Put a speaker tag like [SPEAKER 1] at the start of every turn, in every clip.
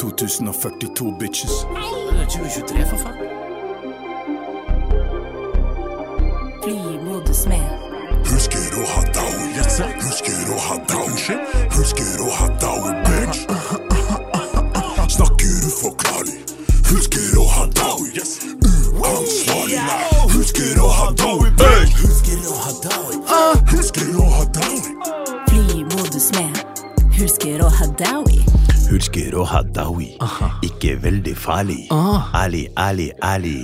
[SPEAKER 1] 2042, bitches.
[SPEAKER 2] Det er 2023, for faen.
[SPEAKER 3] Flymodus med.
[SPEAKER 1] Husker å ha daue, Husker å ha daue. Husker å ha daue, bitch. Snakker uforklarlig. Husker å ha daue. Uansvarlig. Husker å ha daue, bitch. Husker å ha daue. Husker å ha daue.
[SPEAKER 3] Flymodus med. Husker å ha Dowie.
[SPEAKER 4] Husker å ha Dawi. Ikke veldig farlig.
[SPEAKER 2] Ah.
[SPEAKER 4] Ali, Ali, Ali.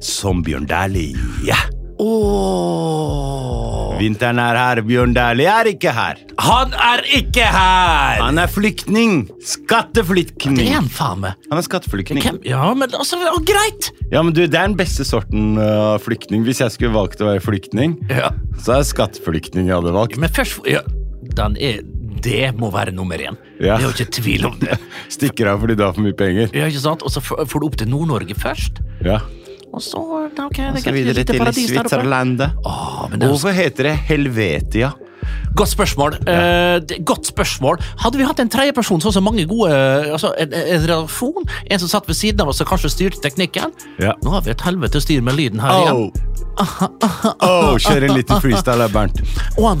[SPEAKER 4] Som Bjørn Dæhlie. Ja.
[SPEAKER 2] Åh.
[SPEAKER 4] Vinteren er her, Bjørn Dæhlie er ikke her.
[SPEAKER 2] Han er ikke her!
[SPEAKER 4] Han er flyktning.
[SPEAKER 2] Det er
[SPEAKER 4] Skatteflyktning.
[SPEAKER 2] han faen meg.
[SPEAKER 4] Han er skatteflyktning.
[SPEAKER 2] Hvem? Ja, men altså, ja, greit!
[SPEAKER 4] Ja, men du, Det er den beste sorten av flyktning. Hvis jeg skulle valgt å være flyktning,
[SPEAKER 2] Ja.
[SPEAKER 4] så er det skatteflyktning jeg hadde valgt.
[SPEAKER 2] Men først ja, den er, Det må være nummer én.
[SPEAKER 4] Ja.
[SPEAKER 2] Det er jo ikke tvil om det.
[SPEAKER 4] Stikker av fordi du har for mye penger.
[SPEAKER 2] Ja, ikke sant? Og så f- får du opp til Nord-Norge først,
[SPEAKER 4] Ja.
[SPEAKER 2] og så da, ok, det er et lite paradis der oppe. Åh, men det er jo
[SPEAKER 4] Hvorfor heter det Helvetia?
[SPEAKER 2] Godt spørsmål. Eh, det- godt spørsmål. Hadde vi hatt en tredjeperson, sånn som mange gode altså, en, en redaksjon, en som satt ved siden av oss og kanskje styrte teknikken
[SPEAKER 4] Ja.
[SPEAKER 2] Nå har vi et helvete styr med lyden her igjen.
[SPEAKER 4] Oh. Oh, kjør en liten freestyle her, Bernt.
[SPEAKER 2] One,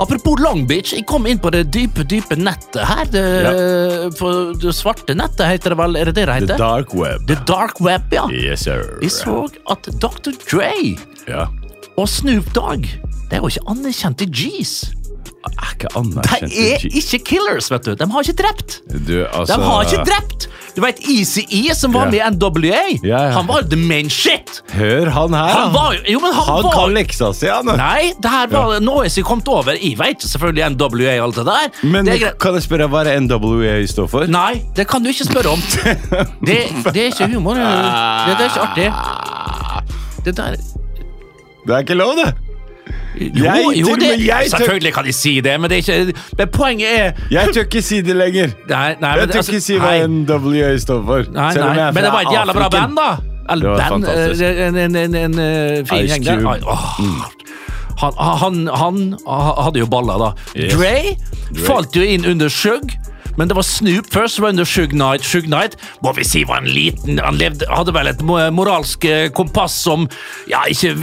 [SPEAKER 2] Apropos Long Beach, jeg kom inn på det dype, dype nettet her. Det, for det svarte nettet heter det vel, er det det det
[SPEAKER 4] The
[SPEAKER 2] heter?
[SPEAKER 4] Dark Web.
[SPEAKER 2] The Dark Web, ja.
[SPEAKER 4] Yes, sir.
[SPEAKER 2] Vi så at Dr. Dre
[SPEAKER 4] Ja.
[SPEAKER 2] og Snoop Dogg det er jo ikke anerkjente G's.
[SPEAKER 4] Er ikke
[SPEAKER 2] De
[SPEAKER 4] anerkjent
[SPEAKER 2] er ikke killers, vet du. De har ikke drept.
[SPEAKER 4] Du, altså
[SPEAKER 2] De har ikke drept. Du vet ECE, som var
[SPEAKER 4] Ja.
[SPEAKER 2] med i NWA,
[SPEAKER 4] Ja, ja.
[SPEAKER 2] han var the main shit.
[SPEAKER 4] Hør han her,
[SPEAKER 2] Han var jo Jo, men han,
[SPEAKER 4] Han
[SPEAKER 2] var
[SPEAKER 4] kan leksa si, han.
[SPEAKER 2] Nei, det her var noe som jeg kom til over. Jeg vet selvfølgelig NWA og alt det der.
[SPEAKER 4] Men
[SPEAKER 2] det er greit.
[SPEAKER 4] kan jeg spørre hva det NWA står for?
[SPEAKER 2] Nei, det kan du ikke spørre om. Det, det er ikke humor. Det,
[SPEAKER 4] Ah.
[SPEAKER 2] det er ikke artig. Det der
[SPEAKER 4] Det er ikke lov, det!
[SPEAKER 2] Jo,
[SPEAKER 4] Jeg-
[SPEAKER 2] jo
[SPEAKER 4] til og
[SPEAKER 2] det,
[SPEAKER 4] med jeg tør-
[SPEAKER 2] selvfølgelig kan de si det, men, det er ikke, men poenget er
[SPEAKER 4] Jeg tør ikke si det lenger.
[SPEAKER 2] Nei, nei,
[SPEAKER 4] Jeg
[SPEAKER 2] men,
[SPEAKER 4] tør
[SPEAKER 2] altså,
[SPEAKER 4] ikke si hva
[SPEAKER 2] nei,
[SPEAKER 4] NWA står for.
[SPEAKER 2] nei,
[SPEAKER 4] selv om
[SPEAKER 2] nei,
[SPEAKER 4] jeg er
[SPEAKER 2] Men det
[SPEAKER 4] fra
[SPEAKER 2] var et jævla bra
[SPEAKER 4] Afriken.
[SPEAKER 2] band, da. Eller
[SPEAKER 4] Det var
[SPEAKER 2] band,
[SPEAKER 4] fantastisk.
[SPEAKER 2] eh, en, en, en, en eh, fin
[SPEAKER 4] Ice
[SPEAKER 2] gjeng der.
[SPEAKER 4] Cube. Mm.
[SPEAKER 2] Ai, åh. Han, han, han, han hadde jo baller, da.
[SPEAKER 4] Yes.
[SPEAKER 2] Dre falt jo inn under Shug. Men det var Snoop først, som var under Shug Knight. Shug Knight må vi si var en liten Han levde, hadde vel et mo- moralsk eh, kompass som Ja, ikke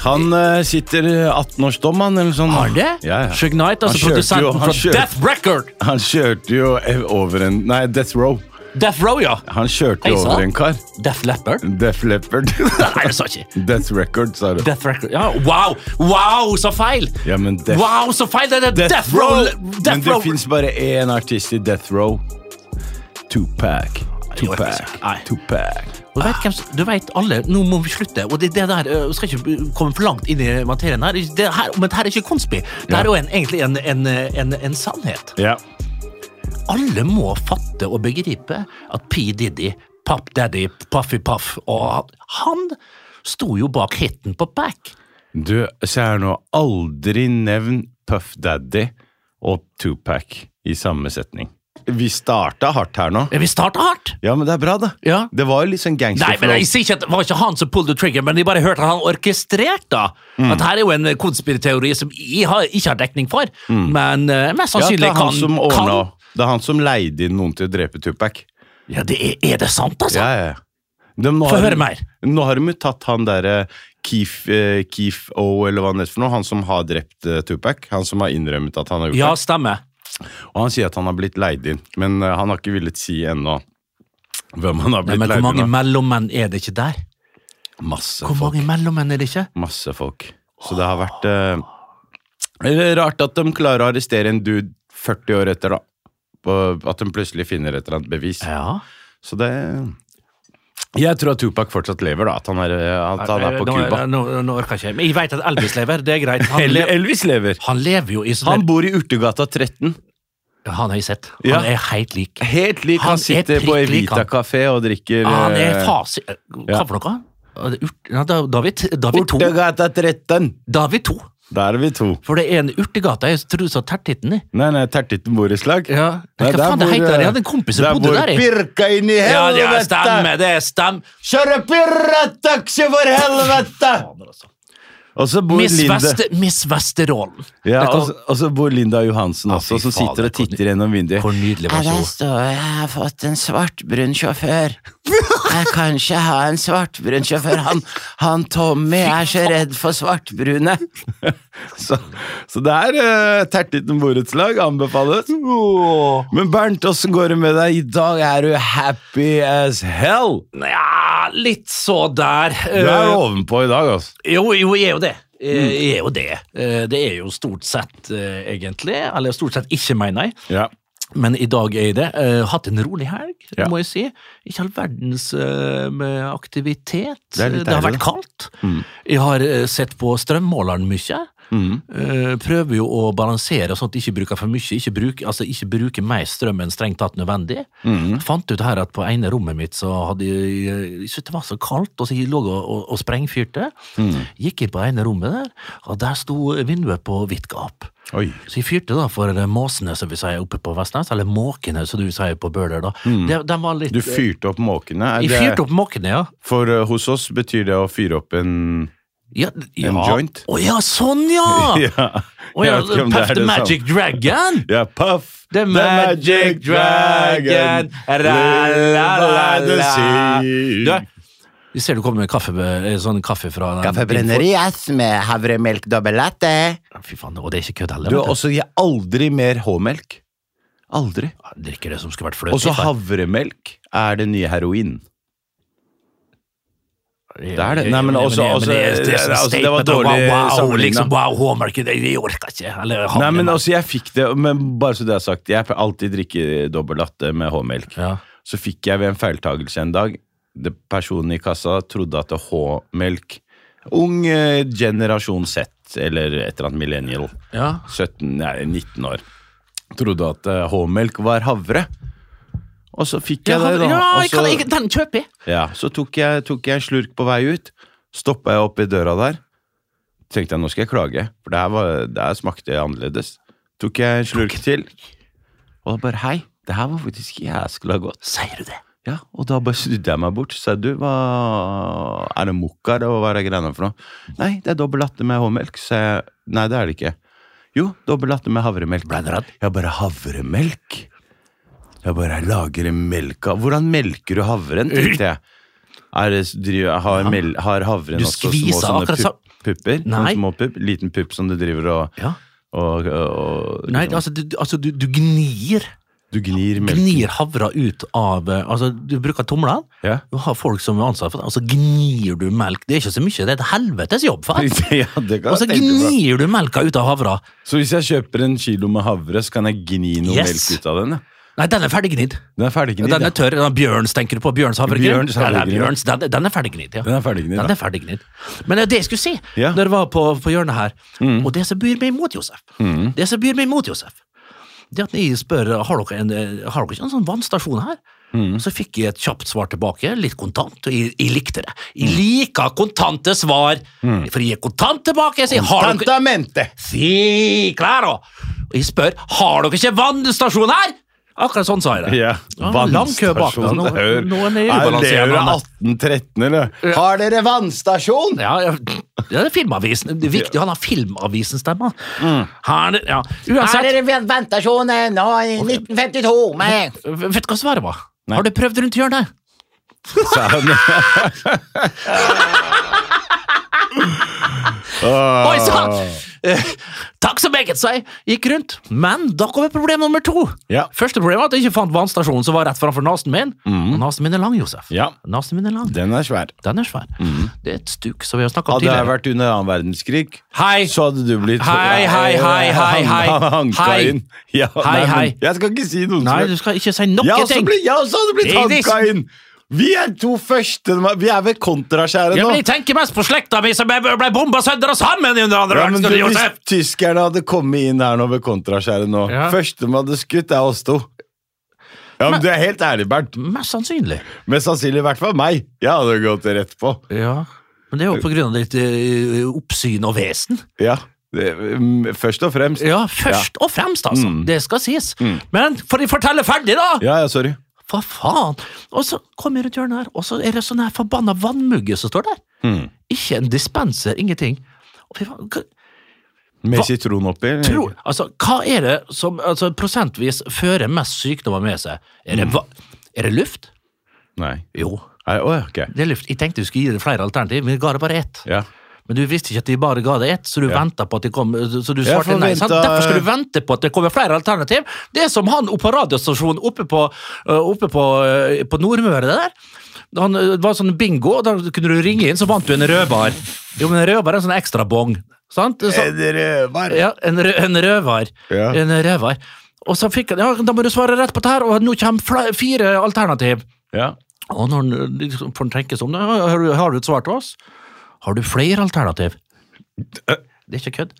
[SPEAKER 4] Han eh, sitter 18-årsdom, han, eller sånn.
[SPEAKER 2] Har det?
[SPEAKER 4] Ja, ja.
[SPEAKER 2] Shug Knight, altså
[SPEAKER 4] Han kjørte jo-
[SPEAKER 2] produsenten
[SPEAKER 4] han
[SPEAKER 2] fra
[SPEAKER 4] kjørte-
[SPEAKER 2] Death Record.
[SPEAKER 4] Han kjørte jo ev- over en Nei, Death Row.
[SPEAKER 2] Death Row, ja.
[SPEAKER 4] Han kjørte
[SPEAKER 2] Hei,
[SPEAKER 4] jo
[SPEAKER 2] sa
[SPEAKER 4] over
[SPEAKER 2] han?
[SPEAKER 4] en kar.
[SPEAKER 2] Death Leopard.
[SPEAKER 4] Def Leppard.
[SPEAKER 2] Nei, det sa jeg ikke.
[SPEAKER 4] Death Record, sa du.
[SPEAKER 2] Death Record Ja, wow! Wow, så feil!
[SPEAKER 4] Ja, men Death-
[SPEAKER 2] Wow, så feil! Det er Death, Row!
[SPEAKER 4] Men
[SPEAKER 2] Death
[SPEAKER 4] det
[SPEAKER 2] Row
[SPEAKER 4] fins bare én artist i Death Row. Tupac.
[SPEAKER 2] Jo, jeg vet
[SPEAKER 4] Tupac.
[SPEAKER 2] ikke. Nei.
[SPEAKER 4] Tupac.
[SPEAKER 2] Du vet, hvem, som- du vet alle, nå må vi slutte. Og det, det der, øh, skal ikke komme for langt inn i materien her. Det her men det her er ikke konspi. Det her er jo en, egentlig en, en, en, en sannhet.
[SPEAKER 4] Ja.
[SPEAKER 2] Alle må fatte og begripe at P. Diddy, Pop Daddy, Puffy Puff og Han sto jo bak hiten på Back.
[SPEAKER 4] Du, se her nå. Aldri nevn Puff Daddy og Tupac i samme setning. Vi starta hardt her nå.
[SPEAKER 2] Vi starta hardt.
[SPEAKER 4] Ja, men det er bra, da.
[SPEAKER 2] Ja.
[SPEAKER 4] Det var jo litt sånn
[SPEAKER 2] Nei, men jeg
[SPEAKER 4] gangsterflow.
[SPEAKER 2] sier ikke at Det var ikke han som pulled the trigger, men jeg bare hørte at han orkestrerte.
[SPEAKER 4] Mm.
[SPEAKER 2] At her er jo en eh, konspiriteori som jeg har, ikke har dekning for, men eh, mest
[SPEAKER 4] Mm. Ja, det
[SPEAKER 2] sannsynlig
[SPEAKER 4] er han
[SPEAKER 2] kan,
[SPEAKER 4] som
[SPEAKER 2] kan
[SPEAKER 4] ordna Det er han som leide inn noen til å drepe Tupac.
[SPEAKER 2] Ja, det er, er det sant, altså?
[SPEAKER 4] Ja, ja, ja. De, nå
[SPEAKER 2] Få
[SPEAKER 4] har de-
[SPEAKER 2] høre mer.
[SPEAKER 4] Nå har de jo tatt han derre Keef, eh, Keef O, eller hva han heter for noe. Han som har drept eh, Tupac. Han som har innrømmet at han har gjort
[SPEAKER 2] Ja, stemmer.
[SPEAKER 4] det. Og han sier at han har blitt leid inn, men eh, han har ikke villet si ennå hvem han har
[SPEAKER 2] Nei,
[SPEAKER 4] blitt
[SPEAKER 2] men hvor
[SPEAKER 4] leid
[SPEAKER 2] mange
[SPEAKER 4] inn av.
[SPEAKER 2] mellommenn er det ikke der?
[SPEAKER 4] Masse
[SPEAKER 2] Hvor
[SPEAKER 4] folk.
[SPEAKER 2] mange mellommenn er det ikke?
[SPEAKER 4] Masse folk. Så det har vært eh, eller Rart at de klarer å arrestere en dude 40 år etter, da. På- At de plutselig finner et eller annet bevis.
[SPEAKER 2] Ja.
[SPEAKER 4] Så det Jeg tror at Tupac fortsatt lever, da. At han er, eh, at han er på
[SPEAKER 2] nå,
[SPEAKER 4] Cuba.
[SPEAKER 2] Nå, nå orker jeg ikke. Men jeg vet at Elvis lever, det er greit. Han,
[SPEAKER 4] Eller
[SPEAKER 2] lever,
[SPEAKER 4] Elvis lever.
[SPEAKER 2] han lever jo i sånn
[SPEAKER 4] Han bor i Urtegata 13.
[SPEAKER 2] der- Han har jeg sett. Han
[SPEAKER 4] Ja.
[SPEAKER 2] er helt lik.
[SPEAKER 4] Helt lik
[SPEAKER 2] Han
[SPEAKER 4] han,
[SPEAKER 2] er
[SPEAKER 4] sitter på
[SPEAKER 2] prikk lik,
[SPEAKER 4] Evita
[SPEAKER 2] han. Ah,
[SPEAKER 4] kafé og drikker
[SPEAKER 2] Han er
[SPEAKER 4] eh,
[SPEAKER 2] fasi... Hva Ah,
[SPEAKER 4] ja.
[SPEAKER 2] for noe? Urt- Ja, da, da, har vi, t- da har vi to.
[SPEAKER 4] Urtegata 13!
[SPEAKER 2] Da har vi to.
[SPEAKER 4] Da er vi to.
[SPEAKER 2] For det er en urtegate. Jeg tror du sa Tertitten. jeg.
[SPEAKER 4] Nei, nei, Tertitten borettslag.
[SPEAKER 2] Ja. Hva
[SPEAKER 4] Nei,
[SPEAKER 2] faen det heter
[SPEAKER 4] hvor, eh,
[SPEAKER 2] det? Jeg hadde en kompis som
[SPEAKER 4] der
[SPEAKER 2] bodde
[SPEAKER 4] hvor
[SPEAKER 2] der, jeg.
[SPEAKER 4] Pirka inn i
[SPEAKER 2] Ja,
[SPEAKER 4] helvete!
[SPEAKER 2] det er stemme, det er stem.
[SPEAKER 4] Kjøre pirataxi, for helvete!
[SPEAKER 2] altså.
[SPEAKER 4] Og så bor
[SPEAKER 2] Miss,
[SPEAKER 4] Linda
[SPEAKER 2] Veste, Miss Vesterålen.
[SPEAKER 4] ja,
[SPEAKER 2] Det kan-
[SPEAKER 4] og, så- og så bor altså, Linda Johansen også,
[SPEAKER 2] fy
[SPEAKER 4] som
[SPEAKER 2] faen,
[SPEAKER 4] sitter og
[SPEAKER 2] det kan-
[SPEAKER 4] titter gjennom vinduet.
[SPEAKER 2] Hvor nydelig var ikke hun?
[SPEAKER 4] står jeg har fått en svartbrun sjåfør. Jeg kan ikke ha en svartbrun sjåfør. Han, han Tommy er så redd for svartbrune. så, så det er uh, tertitten borettslag anbefales. Men Bernt, åssen går det med deg? I dag er du happy as hell.
[SPEAKER 2] Nja, litt så der.
[SPEAKER 4] Du er
[SPEAKER 2] Eh,
[SPEAKER 4] ovenpå i dag, altså.
[SPEAKER 2] Jo, jo, jeg er jo det. Eh, Jeg er jo det. Eh, Det er jo stort sett, eh, egentlig. Eller stort sett ikke, mener jeg.
[SPEAKER 4] Ja.
[SPEAKER 2] Men i dag er jeg det. Eh, hatt en rolig helg,
[SPEAKER 4] Ja.
[SPEAKER 2] må jeg si. Ikke all verdens eh, med aktivitet.
[SPEAKER 4] Det er litt
[SPEAKER 2] har
[SPEAKER 4] deilig, Mm.
[SPEAKER 2] vært kaldt. Jeg har eh, sett på strømmåleren mye. Eh, prøver jo å balansere sånn at jeg ikke bruker for mye. Ikke bruker, altså, ikke bruker mer strøm enn strengt tatt nødvendig.
[SPEAKER 4] Mm.
[SPEAKER 2] Fant ut her at på ene rommet mitt så hadde jeg, jeg syntes det var så kaldt, og så jeg lå og, og, og sprengfyrte.
[SPEAKER 4] Mm.
[SPEAKER 2] Gikk inn på ene rommet der, og der sto vinduet på vidt gap.
[SPEAKER 4] Oi.
[SPEAKER 2] Så jeg fyrte da for eh, måsene, som vi sier oppe på Vestnes, eller måkene, som du sier på Bøler. da. De, de var litt...
[SPEAKER 4] Mm. Du fyrte opp måkene. Er
[SPEAKER 2] Jeg
[SPEAKER 4] det-
[SPEAKER 2] fyrte opp måkene, ja.
[SPEAKER 4] For eh, hos oss betyr det å fyre opp en
[SPEAKER 2] ja, ja.
[SPEAKER 4] joint?
[SPEAKER 2] Å ja, sånn ja!
[SPEAKER 4] Ah. Ja.
[SPEAKER 2] Å ja,
[SPEAKER 4] Jeg vet ikke om det
[SPEAKER 2] Puff
[SPEAKER 4] er
[SPEAKER 2] the
[SPEAKER 4] det samme.
[SPEAKER 2] Magic Dragon!
[SPEAKER 4] Ja, Puff
[SPEAKER 2] The Magic Dragon, ra-la-la-la. Du, vi ser du kommer med kaffe, eh, sånn kaffe fra...
[SPEAKER 4] ass med havremelk dobbel latte.
[SPEAKER 2] Fy faen, og det er ikke kødd
[SPEAKER 4] Du
[SPEAKER 2] heller.
[SPEAKER 4] har
[SPEAKER 2] vet
[SPEAKER 4] også gir aldri mer H-melk. Aldri.
[SPEAKER 2] du. Jeg Drikker det som skulle vært fløt.
[SPEAKER 4] Og så havremelk er det nye heroin. det er det. Nei, men også- også-
[SPEAKER 2] det, er sånn
[SPEAKER 4] altså, det var
[SPEAKER 2] statement, og
[SPEAKER 4] dårlig
[SPEAKER 2] wow, wow,
[SPEAKER 4] sammenlignet.
[SPEAKER 2] Liksom, wow, hårmerket, det, det orker ikke. Eller,
[SPEAKER 4] Nei, men
[SPEAKER 2] havremelk.
[SPEAKER 4] altså, jeg fikk det, men bare så det er sagt, jeg pleier alltid drikke dobbel latte med H-melk.
[SPEAKER 2] Ja.
[SPEAKER 4] Så fikk jeg ved en feiltagelse en dag, det personen i kassa trodde at det H-melk, ung eh, generasjon Z, eller et eller annet millennial,
[SPEAKER 2] Ja.
[SPEAKER 4] 17, nei, 19 år, trodde at eh, H-melk var havre. Og så fikk
[SPEAKER 2] Ja,
[SPEAKER 4] jeg det da. og så-
[SPEAKER 2] kan jeg, den kjøper jeg.
[SPEAKER 4] Ja, så tok jeg, tok jeg en slurk på vei ut, stoppa jeg opp i døra der. Tenkte jeg, nå skal jeg klage, for det her, var, det her smakte annerledes. Tok jeg en slurk til, og da bare hei, det her var faktisk jæskla godt.
[SPEAKER 2] Sier du det?
[SPEAKER 4] Ja, og da bare snudde jeg meg bort, sa du, hva er det mokka, eller hva er det greiene for noe? Nei, det er dobbel latte med håmelk, sa jeg, nei, det er det ikke. Jo, dobbel latte med havremelk.
[SPEAKER 2] Ble han redd?
[SPEAKER 4] Jeg bare havremelk. Jeg bare lager melka. Hvordan melker du havren, tenkte jeg. Er det, driver, har, mel, har havren
[SPEAKER 2] Du
[SPEAKER 4] også små
[SPEAKER 2] skviser
[SPEAKER 4] sånne
[SPEAKER 2] akkurat
[SPEAKER 4] pup,
[SPEAKER 2] sånn.
[SPEAKER 4] pupper?
[SPEAKER 2] Nei.
[SPEAKER 4] Sånn små pupp, liten pupp som du driver og,
[SPEAKER 2] Ja.
[SPEAKER 4] og, og
[SPEAKER 2] Nei,
[SPEAKER 4] liksom-
[SPEAKER 2] altså, du, altså, du, du gnir,
[SPEAKER 4] Du gnir melken.
[SPEAKER 2] gnir havra ut av eh, Altså, du bruker tomlene.
[SPEAKER 4] Ja.
[SPEAKER 2] Du har folk som er ansatt for det, og så gnir du melk. Det er ikke så mye, det er et helvetes jobb, faen.
[SPEAKER 4] ja, det kan
[SPEAKER 2] Og så
[SPEAKER 4] jeg tenke på.
[SPEAKER 2] gnir du melka ut av havra.
[SPEAKER 4] Så hvis jeg kjøper en kilo med havre, så kan jeg gni noe
[SPEAKER 2] Yes.
[SPEAKER 4] melk ut av den? ja?
[SPEAKER 2] Nei, den er ferdiggnidd.
[SPEAKER 4] Den er ferdiggnidd.
[SPEAKER 2] Den
[SPEAKER 4] ja.
[SPEAKER 2] er tørr. Den er Bjørns, tenker du på? Bjørns havregryn?
[SPEAKER 4] Bjørns havregryn.
[SPEAKER 2] Eller Bjørns, Den, den er ferdiggnidd, ja.
[SPEAKER 4] Den er ferdiggnidd,
[SPEAKER 2] Den
[SPEAKER 4] ja.
[SPEAKER 2] er ferdiggnidd. Men det er det jeg skulle si,
[SPEAKER 4] Ja. Mm.
[SPEAKER 2] når jeg var på, på hjørnet her, og det som byr meg imot Josef, det som byr meg imot Josef, det at jeg spør har dere, en, eh, har dere ikke en sånn vannstasjon her?
[SPEAKER 4] Mm.
[SPEAKER 2] Så fikk jeg et kjapt svar tilbake, litt kontant, og jeg, jeg likte det.
[SPEAKER 4] Mm.
[SPEAKER 2] Jeg liker kontante svar, for jeg gir kontant tilbake. Jeg sier, har dere,
[SPEAKER 4] Tantamente!
[SPEAKER 2] si, claro! Og jeg spør, har dere ikke vannstasjon her? Akkurat sånn sa jeg det.
[SPEAKER 4] Ja,
[SPEAKER 2] Ja, lang kø bak, da. Nå-
[SPEAKER 4] Hør.
[SPEAKER 2] nå er det
[SPEAKER 4] Er
[SPEAKER 2] ubalanserende,
[SPEAKER 4] dere
[SPEAKER 2] Anne.
[SPEAKER 4] 1813, eller? Har dere vannstasjon?
[SPEAKER 2] Ja, ja, ja, det er Filmavisen. Det er viktig å ha Filmavisen stemmer.
[SPEAKER 4] Mm.
[SPEAKER 2] Her, ja. Uansett,
[SPEAKER 5] Ventasjonen nå i 1952 med
[SPEAKER 2] vet du hva svaret var? Har du prøvd rundt hjørnet?
[SPEAKER 4] sa han.
[SPEAKER 2] Oi
[SPEAKER 4] Ah.
[SPEAKER 2] sann! Eh, Takk så meget, sa jeg. Gikk rundt. Men da kommer problem nummer to.
[SPEAKER 4] Ja.
[SPEAKER 2] Første problem var at jeg ikke fant vannstasjonen som var rett framfor nesen min. Og nesen min er lang, Josef.
[SPEAKER 4] Mm. Ja. Mm.
[SPEAKER 2] Nesen min er lang.
[SPEAKER 4] Den er svær.
[SPEAKER 2] Den er svær. Det er et stuk som vi har snakka om
[SPEAKER 4] Hadde jeg
[SPEAKER 2] tidligere.
[SPEAKER 4] vært under annen verdenskrig,
[SPEAKER 2] Hei!
[SPEAKER 4] så hadde du blitt
[SPEAKER 2] Hei, hei, hei, hei, hei.
[SPEAKER 4] Han, han hanka
[SPEAKER 2] Hei.
[SPEAKER 4] inn. Ja,
[SPEAKER 2] Hei,
[SPEAKER 4] nei, men
[SPEAKER 2] hei.
[SPEAKER 4] Jeg skal ikke si noe
[SPEAKER 2] Nei,
[SPEAKER 4] som
[SPEAKER 2] du skal ikke si noe
[SPEAKER 4] jeg, også
[SPEAKER 2] ting.
[SPEAKER 4] ble, jeg også hadde blitt
[SPEAKER 2] Det er
[SPEAKER 4] hanka inn! Vi er to første Vi er ved kontraskjæret
[SPEAKER 2] Ja,
[SPEAKER 4] nå.
[SPEAKER 2] men jeg tenker mest på slekta mi som ble ble bomba sønder og sammen under andre
[SPEAKER 4] Ja, men du,
[SPEAKER 2] verdenskrig, Josef!
[SPEAKER 4] hvis tyskerne hadde kommet inn her nå ved kontraskjæret nå
[SPEAKER 2] Ja.
[SPEAKER 4] Førstemann hadde skutt er oss to. Ja, men, Du er helt ærlig, Bernt.
[SPEAKER 2] Mest sannsynlig.
[SPEAKER 4] Mest sannsynlig i hvert fall meg. Jeg hadde gått rett på.
[SPEAKER 2] Ja. Men det er jo på grunn av ditt eh, oppsyn og vesen.
[SPEAKER 4] Ja. Det, mm, først og fremst.
[SPEAKER 2] Ja, først og fremst, altså. Det skal sies. Men for å fortelle ferdig, da!
[SPEAKER 4] Ja, ja, sorry.
[SPEAKER 2] Hva faen? Og så kommer jeg rundt hjørnet her, og så er det sånn her forbanna vannmugge som står der. Ikke en dispenser, ingenting. Og fy faen, hva,
[SPEAKER 4] Med
[SPEAKER 2] Hva-
[SPEAKER 4] sitron oppi. eller?
[SPEAKER 2] tror, altså, hva er det som altså, prosentvis fører mest sykdommer med seg? Er det, va er det luft?
[SPEAKER 4] Nei.
[SPEAKER 2] Jo,
[SPEAKER 4] Nei, Å, ja, ok.
[SPEAKER 2] det er luft. Jeg tenkte du skulle gi deg flere alternativ, men jeg ga deg bare ett.
[SPEAKER 4] Ja.
[SPEAKER 2] Men du visste ikke at de bare ga deg ett, så du ventet på at de kom Så du
[SPEAKER 4] Ja,
[SPEAKER 2] svarte
[SPEAKER 4] for
[SPEAKER 2] nei.
[SPEAKER 4] venta-
[SPEAKER 2] Sant? Derfor skal du vente på at det kommer flere alternativ. Det er som han oppe på radiostasjonen oppe på, øh, oppe på, øh, på Nordmøre, det der. Han, øh, det var sånn bingo, og da kunne du ringe inn, så vant du en rødbar. Jo, men en rødbar er en sånn ekstra bong. Sant? Så,
[SPEAKER 4] En rødbar.
[SPEAKER 2] Sånn. ja, en, rø en rødvar.
[SPEAKER 4] Eh, Ja.
[SPEAKER 2] En rødvar. Og så fikk han Ja, da må du svare rett på det her, og nå kommer fla- fire alternativ.
[SPEAKER 4] Ja.
[SPEAKER 2] Og når han liksom får tenke seg om det, «Ja, har du, har du et svar til oss? Har du flere alternativ?
[SPEAKER 4] Eh.
[SPEAKER 2] Det er ikke kødd.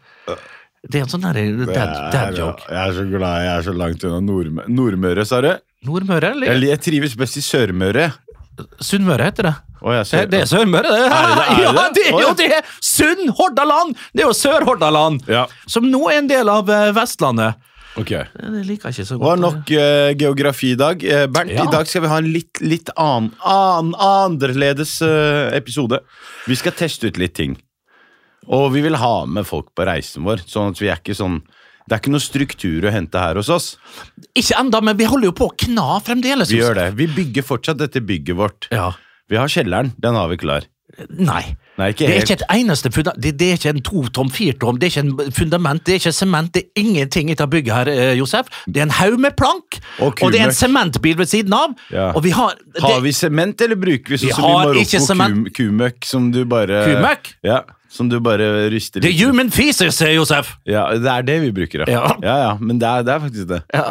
[SPEAKER 2] Det er en sånn der dad, dad joke.
[SPEAKER 4] Jeg er så glad jeg er så langt unna Nordmø- Nordmøre, sa du?
[SPEAKER 2] Nordmøre, eller?
[SPEAKER 4] Jeg, jeg trives best i Sørmøre.
[SPEAKER 2] Sunnmøre heter det.
[SPEAKER 4] Å, jeg
[SPEAKER 2] Det,
[SPEAKER 4] sør-
[SPEAKER 2] det er Sørmøre, det!
[SPEAKER 4] Er det- er
[SPEAKER 2] Ja,
[SPEAKER 4] det?
[SPEAKER 2] det er jo
[SPEAKER 4] Å,
[SPEAKER 2] det! Sunn Hordaland! Det er jo Sør-Hordaland,
[SPEAKER 4] Ja.
[SPEAKER 2] som nå er en del av eh, Vestlandet.
[SPEAKER 4] Ok.
[SPEAKER 2] Det liker jeg ikke så
[SPEAKER 4] Det var
[SPEAKER 2] godt.
[SPEAKER 4] nok eh, geografi i dag. Eh, Bernt,
[SPEAKER 2] Ja.
[SPEAKER 4] i dag skal vi ha en litt, litt annen, annen andreledes eh, episode. Vi skal teste ut litt ting. Og vi vil ha med folk på reisen vår, sånn at vi er ikke sånn Det er ikke noe struktur å hente her hos oss.
[SPEAKER 2] eh. Ikke enda, men vi holder jo på å kna fremdeles.
[SPEAKER 4] Vi gjør det. Vi bygger fortsatt dette bygget vårt.
[SPEAKER 2] Ja.
[SPEAKER 4] Vi har kjelleren. Den har vi klar.
[SPEAKER 2] Nei.
[SPEAKER 4] Nei, ikke
[SPEAKER 2] Det er
[SPEAKER 4] helt.
[SPEAKER 2] ikke et eneste funda det, det er ikke en totom, firtom, det er ikke en fundament, det er ikke sement, det er ingenting i dette bygget her, eh, Josef. Det er en haug med plank,
[SPEAKER 4] Og
[SPEAKER 2] og, det er en
[SPEAKER 4] kumøkk.
[SPEAKER 2] sementbil ved siden av.
[SPEAKER 4] Ja.
[SPEAKER 2] Og vi har, det,
[SPEAKER 4] Har vi sement, eller bruker vi
[SPEAKER 2] Vi
[SPEAKER 4] sånn som i
[SPEAKER 2] har ikke
[SPEAKER 4] Marokko kum,
[SPEAKER 2] sement.
[SPEAKER 4] kumøkk, som du bare
[SPEAKER 2] Kumøkk?
[SPEAKER 4] Ja, som du bare ryster
[SPEAKER 2] det er human feces, eh, Josef!
[SPEAKER 4] Ja, det er det vi bruker,
[SPEAKER 2] Ja.
[SPEAKER 4] ja, ja men det er, det er faktisk det.
[SPEAKER 2] Ja.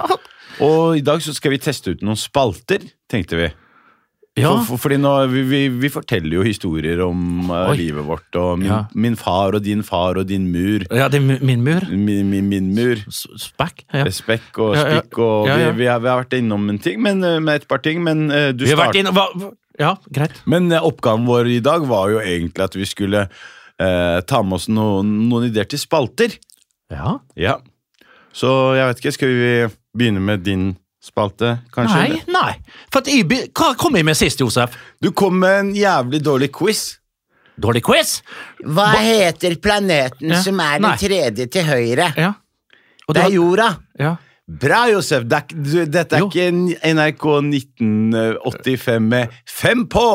[SPEAKER 4] Og i dag så skal vi teste ut noen spalter, tenkte vi.
[SPEAKER 2] Ja.
[SPEAKER 4] For, for, fordi nå, vi, vi, vi forteller jo historier om eh,
[SPEAKER 2] Oi.
[SPEAKER 4] livet vårt, og min,
[SPEAKER 2] Ja.
[SPEAKER 4] min far og din far og din mur.
[SPEAKER 2] det er mu- min mur.
[SPEAKER 4] Min, min, min mur.
[SPEAKER 2] S- Spekk. Ja.
[SPEAKER 4] Spekk og
[SPEAKER 2] Ja, ja.
[SPEAKER 4] spikk og
[SPEAKER 2] Ja, ja.
[SPEAKER 4] Vi, vi, har, vi har vært innom en ting, men, eh, med et par ting, men eh, du
[SPEAKER 2] Vi har
[SPEAKER 4] start-
[SPEAKER 2] vært inne hva- hva- Ja, greit.
[SPEAKER 4] Men eh, oppgaven vår i dag var jo egentlig at vi skulle eh, ta med oss noen, noen ideer til spalter.
[SPEAKER 2] Ja.
[SPEAKER 4] Ja. Så jeg vet ikke, skal vi begynne med din spalte, kanskje?
[SPEAKER 2] Nei, nei. For at jeg, be- hva kom jeg med sist, Josef?
[SPEAKER 4] Du kom med en jævlig dårlig quiz.
[SPEAKER 2] Dårlig quiz?
[SPEAKER 5] Hva heter planeten
[SPEAKER 2] Ja.
[SPEAKER 5] som er
[SPEAKER 2] Nei.
[SPEAKER 5] den tredje til høyre?
[SPEAKER 2] Ja. Og
[SPEAKER 5] Det er jorda.
[SPEAKER 2] Ja.
[SPEAKER 4] Bra, Josef! Det er, ikke- du, dette er
[SPEAKER 2] Jo.
[SPEAKER 4] ikke en NRK 1985 med Fem på!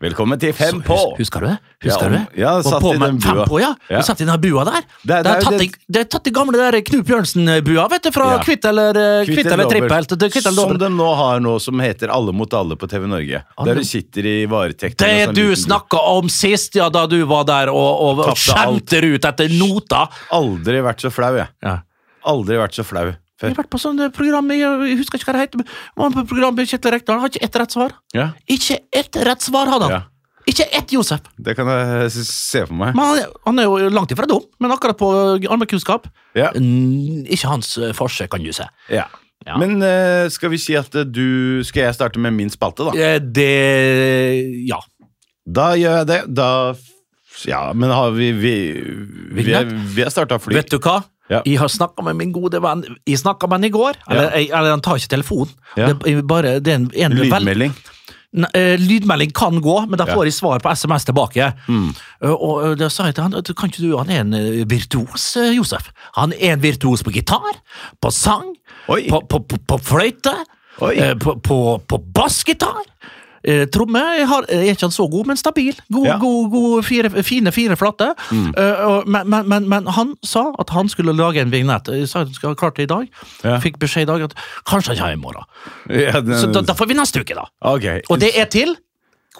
[SPEAKER 4] Velkommen til Fem
[SPEAKER 2] Så
[SPEAKER 4] på!
[SPEAKER 2] hus- Husker du det? Husker
[SPEAKER 4] Ja,
[SPEAKER 2] du
[SPEAKER 4] om-
[SPEAKER 2] det?
[SPEAKER 4] ja,
[SPEAKER 2] Og
[SPEAKER 4] satt
[SPEAKER 2] på
[SPEAKER 4] i
[SPEAKER 2] med
[SPEAKER 4] den
[SPEAKER 2] fem
[SPEAKER 4] bua.
[SPEAKER 2] På, ja.
[SPEAKER 4] Ja.
[SPEAKER 2] Satt i den her bua der.
[SPEAKER 4] det
[SPEAKER 2] Det,
[SPEAKER 4] er
[SPEAKER 2] er
[SPEAKER 4] jo
[SPEAKER 2] tatt
[SPEAKER 4] det-
[SPEAKER 2] i, det er tatt i gamle der Knut Bjørnsen-bua, vet du, fra
[SPEAKER 4] Ja.
[SPEAKER 2] Kvitt eller, eh, kvitt eller
[SPEAKER 4] dobbelt.
[SPEAKER 2] trippelt. Det, er kvitt eller
[SPEAKER 4] Som
[SPEAKER 2] dobbelt.
[SPEAKER 4] de nå har nå, som heter Alle mot alle på TV Norge. Der du sitter i varetekt.
[SPEAKER 2] det
[SPEAKER 4] med sånn
[SPEAKER 2] du
[SPEAKER 4] liten bok.
[SPEAKER 2] snakka om sist, ja, da du var der og, og, og
[SPEAKER 4] Tapte alt.
[SPEAKER 2] skjemte ut etter nota.
[SPEAKER 4] Aldri vært så flau, jeg.
[SPEAKER 2] Ja.
[SPEAKER 4] Aldri vært så flau
[SPEAKER 2] Jeg
[SPEAKER 4] før.
[SPEAKER 2] har vært på sånne program jeg, jeg husker ikke hva det heter. men det var på program med Kjetil Rekdal har ikke ett rett svar.
[SPEAKER 4] Ja,
[SPEAKER 2] Ikke ett rett svar hadde han.
[SPEAKER 4] Ja.
[SPEAKER 2] Ikke ett, Josef.
[SPEAKER 4] det kan jeg s- se for meg.
[SPEAKER 2] Men han, er- han er jo langt ifra dum, men akkurat på eh, allmennkunnskap
[SPEAKER 4] Ja.
[SPEAKER 2] mm, Ikke hans eh, forse, kan du si.
[SPEAKER 4] Ja.
[SPEAKER 2] Ja.
[SPEAKER 4] Men eh, skal vi si at eh, du Skal jeg starte med min spalte, da?
[SPEAKER 2] Eh, Det Ja.
[SPEAKER 4] Da gjør jeg det. Da f- Ja, men har vi Vi, vi, er- vi har starta fly.
[SPEAKER 2] Vet du hva?
[SPEAKER 4] Ja.
[SPEAKER 2] Jeg har snakka med min gode venn Jeg snakka med han i går. Eller, jeg, eller han tar ikke telefonen.
[SPEAKER 4] Ja.
[SPEAKER 2] Det, er bare, det er en, en vel-
[SPEAKER 4] Lydmelding.
[SPEAKER 2] Nei, eh, lydmelding kan gå, men da
[SPEAKER 4] Ja. Mm.
[SPEAKER 2] får jeg svar på SMS tilbake. Eh, og eh, da sa jeg til han at kan ikke du, han er en eh, virtuos, eh, Josef. Han er en virtuos på gitar, på sang,
[SPEAKER 4] Oi.
[SPEAKER 2] på, på, på, på fløyte,
[SPEAKER 4] Oi.
[SPEAKER 2] eh, på, på, på bassgitar. Eh, tromme jeg har, er ikke han så god, men stabil. God,
[SPEAKER 4] Ja. Mm.
[SPEAKER 2] god, god fire, fine fire flate. Eh, og, men, men, men, men han sa at han skulle lage en vignett. Jeg sa at han skulle ha klart det i dag.
[SPEAKER 4] Ja. Eh.
[SPEAKER 2] Fikk beskjed i dag at kanskje han ikke har i morgen.
[SPEAKER 4] Ja, den,
[SPEAKER 2] Så da, da får vi neste uke, da.
[SPEAKER 4] Ok.
[SPEAKER 2] Og det er til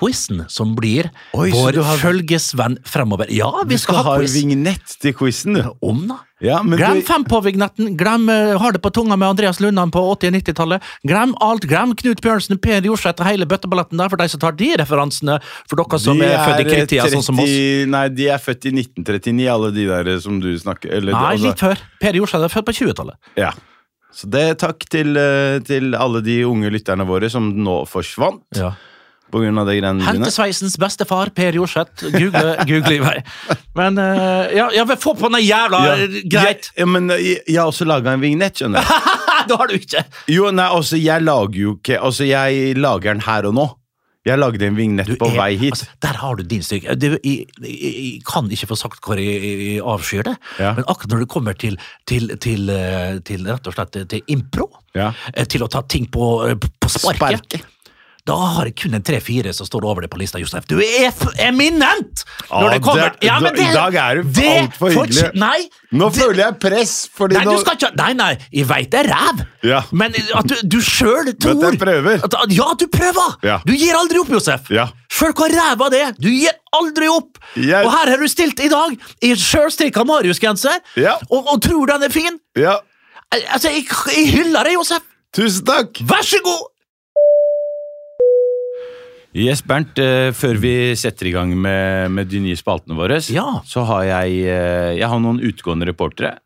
[SPEAKER 2] quizen som blir
[SPEAKER 4] Oi, så
[SPEAKER 2] vår
[SPEAKER 4] du har-
[SPEAKER 2] følgesvenn fremover. Ja, vi
[SPEAKER 4] du
[SPEAKER 2] skal, ha quiz
[SPEAKER 4] vignett til quizen, du.
[SPEAKER 2] om, da.
[SPEAKER 4] Ja, men
[SPEAKER 2] Glem
[SPEAKER 4] du,
[SPEAKER 2] fem på-vignetten, glem eh, Har det på tunga med Andreas Lundan på 80- og 90-tallet. Glem alt, glem Knut Bjørnsen, Per Jorseth og hele bøtteballetten der, for de som tar de referansene, for dere som
[SPEAKER 4] de
[SPEAKER 2] er, født i kritida, sånn som oss.
[SPEAKER 4] 30 Nei, de er født i 1939, alle de der eh, som du snakker eller,
[SPEAKER 2] Nei,
[SPEAKER 4] altså-
[SPEAKER 2] litt før. Per Jorseth er født på 20-tallet.
[SPEAKER 4] Ja. Så det takk til, eh, til alle de unge lytterne våre som nå forsvant. på grunn av de greiene dine.
[SPEAKER 2] Hentesveisens bestefar, Per Jorseth. Google, google i vei. Men eh, ja, ja, men få på den jævla Greit!
[SPEAKER 4] Ja, men jeg, jeg har også laga en vignett, skjønner du.
[SPEAKER 2] det har du ikke!
[SPEAKER 4] Jo, nei, altså, jeg lager jo ikke Altså, jeg lager den her og nå. Jeg lagde en vignett
[SPEAKER 2] Du
[SPEAKER 4] på
[SPEAKER 2] er-
[SPEAKER 4] vei hit.
[SPEAKER 2] altså, der har du din styrke. Det- Jeg, jeg, jeg kan ikke få sagt hvor jeg, jeg avskyr det,
[SPEAKER 4] Ja.
[SPEAKER 2] men akkurat når det kommer til, til, til, eh, til rett og slett til impro,
[SPEAKER 4] Ja.
[SPEAKER 2] eh, til å ta ting på, eh, på sparket,
[SPEAKER 4] Sparket.
[SPEAKER 2] da har jeg kun en tre-fire som står over det på lista, Jostein. Du er f eminent! Når
[SPEAKER 4] Ja,
[SPEAKER 2] det kommer
[SPEAKER 4] det- da- i dag er du altfor
[SPEAKER 2] fortj-
[SPEAKER 4] hyggelig.
[SPEAKER 2] Nei,
[SPEAKER 4] Nå føler jeg press, fordi
[SPEAKER 2] Nei,
[SPEAKER 4] nå
[SPEAKER 2] du skal ikke, nei, nei, jeg veit det er ræv,
[SPEAKER 4] Ja.
[SPEAKER 2] men at du, du sjøl tror
[SPEAKER 4] jeg prøver.
[SPEAKER 2] At, at- ja, du prøver!
[SPEAKER 4] Ja.
[SPEAKER 2] Du gir aldri opp, Josef.
[SPEAKER 4] Ja.
[SPEAKER 2] Sjøl hva ræva det er, du gir aldri opp!
[SPEAKER 4] Jeg-
[SPEAKER 2] Og her har du stilt i dag i sjølstrikka Marius-genser,
[SPEAKER 4] Ja.
[SPEAKER 2] og, og tror den er fin.
[SPEAKER 4] Ja,
[SPEAKER 2] Al- Altså, jeg, jeg hyller deg, Josef!
[SPEAKER 4] tusen takk!
[SPEAKER 2] Vær så god!
[SPEAKER 4] Yes, Bernt, eh, før vi setter i gang med, med de nye spaltene våre,
[SPEAKER 2] Ja.
[SPEAKER 4] så har jeg, eh, jeg har noen utgående reportere.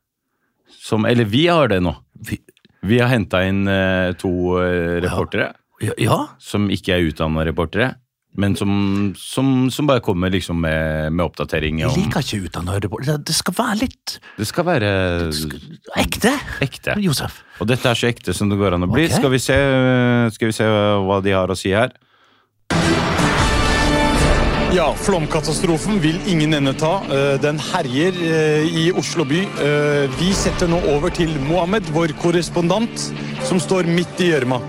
[SPEAKER 4] Som, eller vi har det nå.
[SPEAKER 2] Vi-
[SPEAKER 4] Vi har henta inn eh, to eh, reportere
[SPEAKER 2] Ja, ja.
[SPEAKER 4] som ikke er utdanna reportere, men som, som, som bare kommer liksom med, med oppdatering.
[SPEAKER 2] jeg
[SPEAKER 4] Om,
[SPEAKER 2] liker ikke utdanna høydeborg. Det skal være litt
[SPEAKER 4] det skal være
[SPEAKER 2] ekte.
[SPEAKER 4] ekte.
[SPEAKER 2] Josef.
[SPEAKER 4] Og dette er så ekte som det går an å bli.
[SPEAKER 2] Ok.
[SPEAKER 4] Skal, vi se, eh, skal vi se hva de har å si her.
[SPEAKER 6] Ja, flomkatastrofen vil ingen ende ta. Eh, Den herjer eh, i Oslo by. Eh, Vi setter nå over til Mohammed, vår korrespondent, som står midt i gjørma.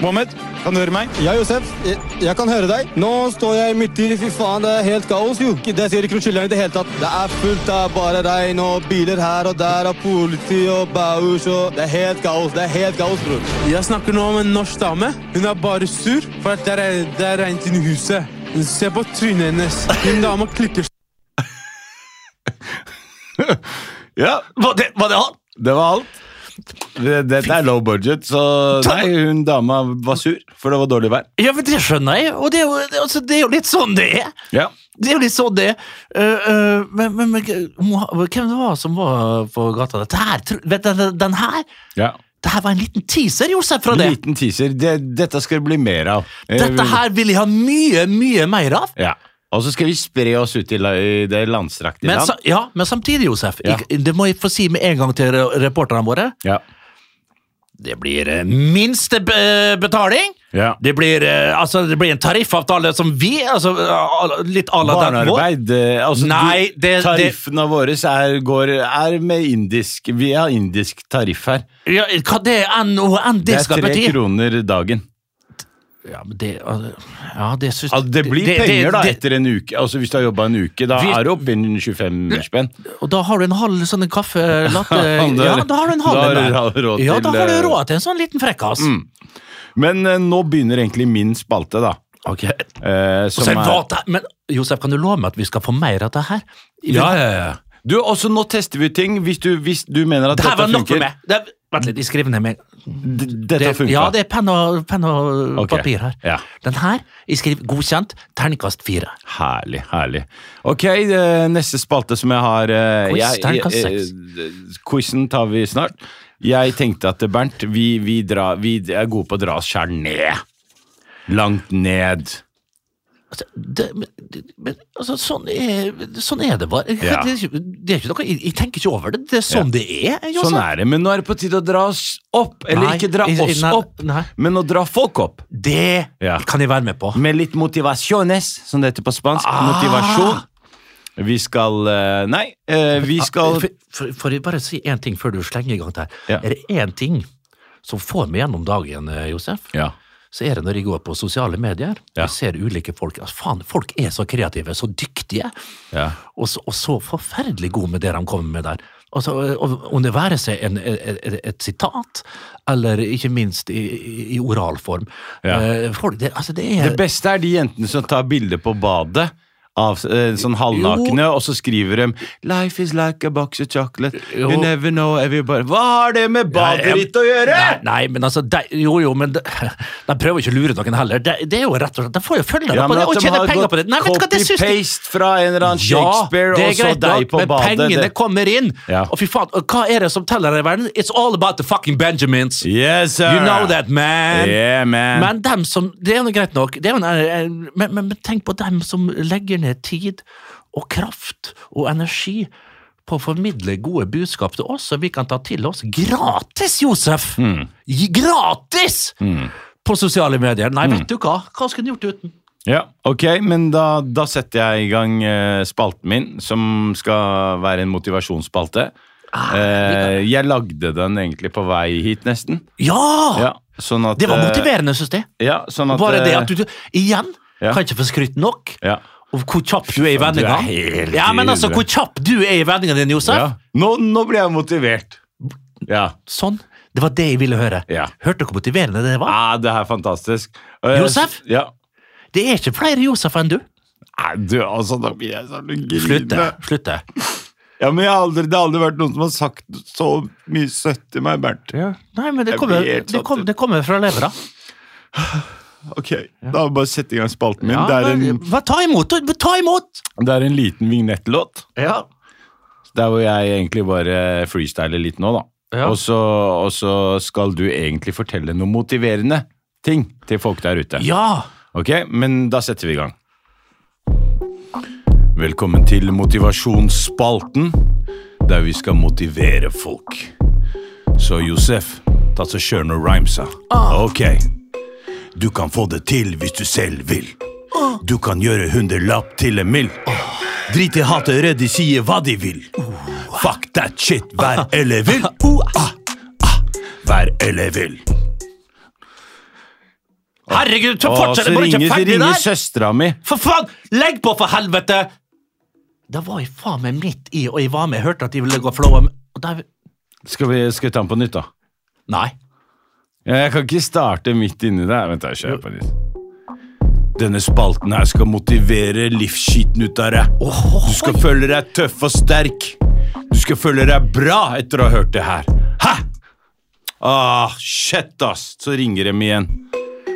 [SPEAKER 6] Mohammed, kan du høre meg?
[SPEAKER 7] Ja, Josef, jeg, jeg kan høre deg. Nå står jeg midt i Fy faen, det er helt kaos, jo. Det ser ikke noe skillere i det hele tatt. Det er fullt av bare regn og biler her og der og politi og baus og Det er helt kaos. Det er helt kaos, bror. Jeg snakker nå om en norsk dame. Hun er bare sur, for det er, det er regnet inn i huset. Se på trynet hennes. Hun dama klikker
[SPEAKER 4] Ja,
[SPEAKER 2] Var det, var det han?
[SPEAKER 4] Det var alt. Det- Dette er low budget, så nei, hun dama var sur, for det var dårlig vær.
[SPEAKER 2] Ja, men det skjønner jeg, og det er jo, det- altså, det er jo litt sånn det er.
[SPEAKER 4] Ja.
[SPEAKER 2] Det er jo litt sånn det er. Eh, eh, men, men, men Moha- hvem det var som var på gata? Dette her, tro- vet du, den, den her Det her var en liten teaser, Josef, fra det.
[SPEAKER 4] Liten teaser. Det, dette skal det bli mer av. Eh,
[SPEAKER 2] Dette her vil jeg ha mye, mye mer av.
[SPEAKER 4] Ja. Og så skal vi spre oss ut i, la, i det landstrakte
[SPEAKER 2] Men,
[SPEAKER 4] land.
[SPEAKER 2] sa, ja, men samtidig, Josef,
[SPEAKER 4] Ja.
[SPEAKER 2] jeg, det må jeg få si med en gang til re- reporterne våre.
[SPEAKER 4] Ja.
[SPEAKER 2] Det blir eh, minste be- betaling.
[SPEAKER 4] Ja.
[SPEAKER 2] Det blir, eh, altså, det blir en tariffavtale som vi altså, eh, Litt à la den vår.
[SPEAKER 4] Barnearbeid eh, altså,
[SPEAKER 2] Nei, det-
[SPEAKER 4] du-
[SPEAKER 2] det-
[SPEAKER 4] Tariffene våre er, går, er med indisk Vi har indisk tariff her.
[SPEAKER 2] Ja, hva det enn og enn det,
[SPEAKER 4] Det er
[SPEAKER 2] skal
[SPEAKER 4] tre
[SPEAKER 2] bety.
[SPEAKER 4] kroner dagen.
[SPEAKER 2] Ja, men det, al- ja, det, synes,
[SPEAKER 4] Altså, det blir
[SPEAKER 2] det-
[SPEAKER 4] penger, da,
[SPEAKER 2] det-
[SPEAKER 4] etter en uke. Altså, hvis du har jobba en uke, da
[SPEAKER 2] Vi-
[SPEAKER 4] er det oppunder 25 spenn.
[SPEAKER 2] Og da har du en halv sånn en kaffe latte
[SPEAKER 4] Han der-
[SPEAKER 2] Ja, da har du en halv
[SPEAKER 4] da har
[SPEAKER 2] en
[SPEAKER 4] du
[SPEAKER 2] der.
[SPEAKER 4] råd
[SPEAKER 2] Ja,
[SPEAKER 4] til,
[SPEAKER 2] da har du
[SPEAKER 4] eh, Mm,
[SPEAKER 2] råd til en sånn liten frekkas.
[SPEAKER 4] Men eh, nå begynner egentlig min spalte, da.
[SPEAKER 2] Ok.
[SPEAKER 4] Eh,
[SPEAKER 2] Og
[SPEAKER 4] som
[SPEAKER 2] så er det
[SPEAKER 4] er,
[SPEAKER 2] data- Men Josef, kan du love meg at vi skal få mer av dette her?
[SPEAKER 4] ja, ja, ja. Du, også nå tester vi ut ting. Hvis du, hvis du mener at
[SPEAKER 2] Det her
[SPEAKER 4] dette
[SPEAKER 2] var nok for
[SPEAKER 4] funker
[SPEAKER 2] meg. Det, vent litt, jeg skriver ned med
[SPEAKER 4] D- Dette
[SPEAKER 2] det,
[SPEAKER 4] funker.
[SPEAKER 2] Ja, det er penn og, penn og
[SPEAKER 4] Ok.
[SPEAKER 2] papir her.
[SPEAKER 4] Ja.
[SPEAKER 2] Den her, jeg skriver godkjent, terningkast fire.
[SPEAKER 4] Herlig, herlig. Ok, eh, neste spalte som jeg har eh,
[SPEAKER 2] Quiz,
[SPEAKER 4] jeg-
[SPEAKER 2] terningkast
[SPEAKER 4] eh,
[SPEAKER 2] seks.
[SPEAKER 4] eh, Quizen tar vi snart. Jeg tenkte at eh, Bernt, vi, vi, dra, vi er gode på å dra oss sjæl ned. Langt ned.
[SPEAKER 2] Altså, det, men, det- men altså, sånn, er, sånn er det bare.
[SPEAKER 4] Ja.
[SPEAKER 2] Det, er ikke- det er ikke noe, jeg, jeg tenker ikke over det. Det er sånn det er. Josef.
[SPEAKER 4] Sånn er det. Men nå er det på tide å dra oss opp. Eller
[SPEAKER 2] Nei,
[SPEAKER 4] ikke dra
[SPEAKER 2] i- i-
[SPEAKER 4] oss
[SPEAKER 2] nei,
[SPEAKER 4] opp,
[SPEAKER 2] nei.
[SPEAKER 4] men å dra folk opp.
[SPEAKER 2] Det
[SPEAKER 4] Ja.
[SPEAKER 2] kan jeg være med på.
[SPEAKER 4] Med litt motivasjones, som det heter på spansk.
[SPEAKER 2] Ah.
[SPEAKER 4] Motivasjon. Vi skal eh, Nei, eh, vi skal
[SPEAKER 2] For, for, for jeg bare si én ting før du slenger i gang der.
[SPEAKER 4] Ja.
[SPEAKER 2] Er det én ting som får meg gjennom dagen, eh, Josef,
[SPEAKER 4] Ja.
[SPEAKER 2] så er det når jeg går på sosiale medier
[SPEAKER 4] Ja.
[SPEAKER 2] og ser ulike folk. Altså, faen, folk er så kreative, så dyktige,
[SPEAKER 4] Ja.
[SPEAKER 2] og, så, og så forferdelig gode med det de kommer med der. Altså, og, om det være seg en, et, et, et sitat, eller ikke minst i, i- i oralform.
[SPEAKER 4] Ja.
[SPEAKER 2] Eh, Folk, det, altså, det er
[SPEAKER 4] Det beste er de jentene som tar bilde på badet Av, eh, sånn halvnakne, og så skriver de 'Life is like a box of chocolate'. You
[SPEAKER 2] Jo.
[SPEAKER 4] never know everybody Hva har det med badet
[SPEAKER 2] Nei, jeg-
[SPEAKER 4] ditt å gjøre?!
[SPEAKER 2] Nei, nei, men altså de, Jo, jo, men de, de prøver ikke å lure noen heller. De, det er jo rett og slett De får jo følgere
[SPEAKER 4] Ja,
[SPEAKER 2] på
[SPEAKER 4] men
[SPEAKER 2] det
[SPEAKER 4] at
[SPEAKER 2] og
[SPEAKER 4] de
[SPEAKER 2] tjener
[SPEAKER 4] har
[SPEAKER 2] penger
[SPEAKER 4] gått
[SPEAKER 2] på det. Nei, vet du hva, det syns de
[SPEAKER 4] copy-paste fra en eller annen Shakespeare,
[SPEAKER 2] det er
[SPEAKER 4] og så
[SPEAKER 2] greit
[SPEAKER 4] deg
[SPEAKER 2] nok,
[SPEAKER 4] på
[SPEAKER 2] men
[SPEAKER 4] badet.
[SPEAKER 2] pengene
[SPEAKER 4] Det-
[SPEAKER 2] kommer inn.
[SPEAKER 4] Ja.
[SPEAKER 2] Og fy faen, og hva er det som teller her i verden? It's all about the fucking Benjamins.
[SPEAKER 4] Yes, sir!
[SPEAKER 2] You know that, man.
[SPEAKER 4] Yeah, man.
[SPEAKER 2] Men dem som Det er jo greit nok, det er jo en, eh, men, men, men tenk på dem som legger ned tid og kraft og energi på å formidle gode budskap til oss, som vi kan ta til oss gratis, Josef!
[SPEAKER 4] Mm.
[SPEAKER 2] Gi- Gratis! På sosiale medier. Nei,
[SPEAKER 4] Mm.
[SPEAKER 2] vet du hva? Hva skulle den gjort uten?
[SPEAKER 4] Ja, ok, men da, da setter jeg i gang eh, spalten min, som skal være en motivasjonsspalte.
[SPEAKER 2] Ah,
[SPEAKER 4] Eh, jeg lagde den egentlig på vei hit, nesten.
[SPEAKER 2] Ja!
[SPEAKER 4] Ja, sånn at,
[SPEAKER 2] Ah, Det var
[SPEAKER 4] eh,
[SPEAKER 2] motiverende, syns jeg.
[SPEAKER 4] Ja, sånn at,
[SPEAKER 2] Bare det
[SPEAKER 4] eh,
[SPEAKER 2] at du, du Igjen,
[SPEAKER 4] Ja.
[SPEAKER 2] kan ikke få skrytt nok.
[SPEAKER 4] Ja.
[SPEAKER 2] Og hvor kjapp du er i
[SPEAKER 4] faen, du er
[SPEAKER 2] vendinga.
[SPEAKER 4] helt
[SPEAKER 2] Ja, men altså,
[SPEAKER 4] videre.
[SPEAKER 2] hvor kjapp du er i vendinga din, Josef.
[SPEAKER 4] ja. Nå, nå ble jeg motivert. Ja.
[SPEAKER 2] Sånn. Det var det jeg ville høre.
[SPEAKER 4] Ja.
[SPEAKER 2] Hørte du hvor motiverende det var?
[SPEAKER 4] Ah, det her er fantastisk. Eh,
[SPEAKER 2] Josef?
[SPEAKER 4] Ja.
[SPEAKER 2] Det er ikke flere Josef enn du.
[SPEAKER 4] Nei, du, altså, da blir jeg sånn
[SPEAKER 2] Slutt det.
[SPEAKER 4] grine.
[SPEAKER 2] Slutt det.
[SPEAKER 4] Ja, men jeg har aldri, det har aldri vært noen som har sagt så mye søtt til meg, Bernt.
[SPEAKER 2] Nei, men det
[SPEAKER 4] Jeg
[SPEAKER 2] kommer,
[SPEAKER 4] blir helt
[SPEAKER 2] det
[SPEAKER 4] satt
[SPEAKER 2] kom-
[SPEAKER 4] ut.
[SPEAKER 2] det kommer fra levra.
[SPEAKER 4] Ok, da har vi bare sett i gang spalten min.
[SPEAKER 2] Ja,
[SPEAKER 4] det, er
[SPEAKER 2] men-
[SPEAKER 4] en,
[SPEAKER 2] hva, ta imot! du, Ta imot!
[SPEAKER 4] det er en liten vignettlåt.
[SPEAKER 2] Ja.
[SPEAKER 4] Der hvor jeg egentlig bare freestyler litt nå, da.
[SPEAKER 2] Ja.
[SPEAKER 4] Og, så, og så skal du egentlig fortelle noe motiverende ting til folk der ute.
[SPEAKER 2] ja.
[SPEAKER 4] Ok, men da setter vi i gang. Velkommen til motivasjonsspalten, der vi skal motivere folk. Så Josef, ta så kjør noen rhymesa.
[SPEAKER 2] Ah.
[SPEAKER 4] Ok. Du kan få det til hvis du selv vil.
[SPEAKER 2] Ah.
[SPEAKER 4] Du kan gjøre hundrelapp til en mill. Drit i hatet, redd de sier hva de vil. Fuck that shit, vær eller vil. Ah, ah, Vær eller vil.
[SPEAKER 2] Herregud, så fortsett! Bare ikke ferdig der!
[SPEAKER 4] søstera mi.
[SPEAKER 2] For faen! Legg på, for helvete! Da var jeg faen meg midt i, og jeg var med. Jeg hørte at de ville gå flowa med og der,
[SPEAKER 4] Skal vi, skal vi ta den på nytt, da?
[SPEAKER 2] Nei.
[SPEAKER 4] Ja, Jeg kan ikke starte midt inni der. Vent, da, jeg kjører på nytt. Denne spalten her skal motivere livsskiten ut av deg. Du skal føle deg tøff og sterk. Du skal føle deg bra etter å ha hørt det her. Hæ? Ah, shit, ass. Så ringer dem igjen.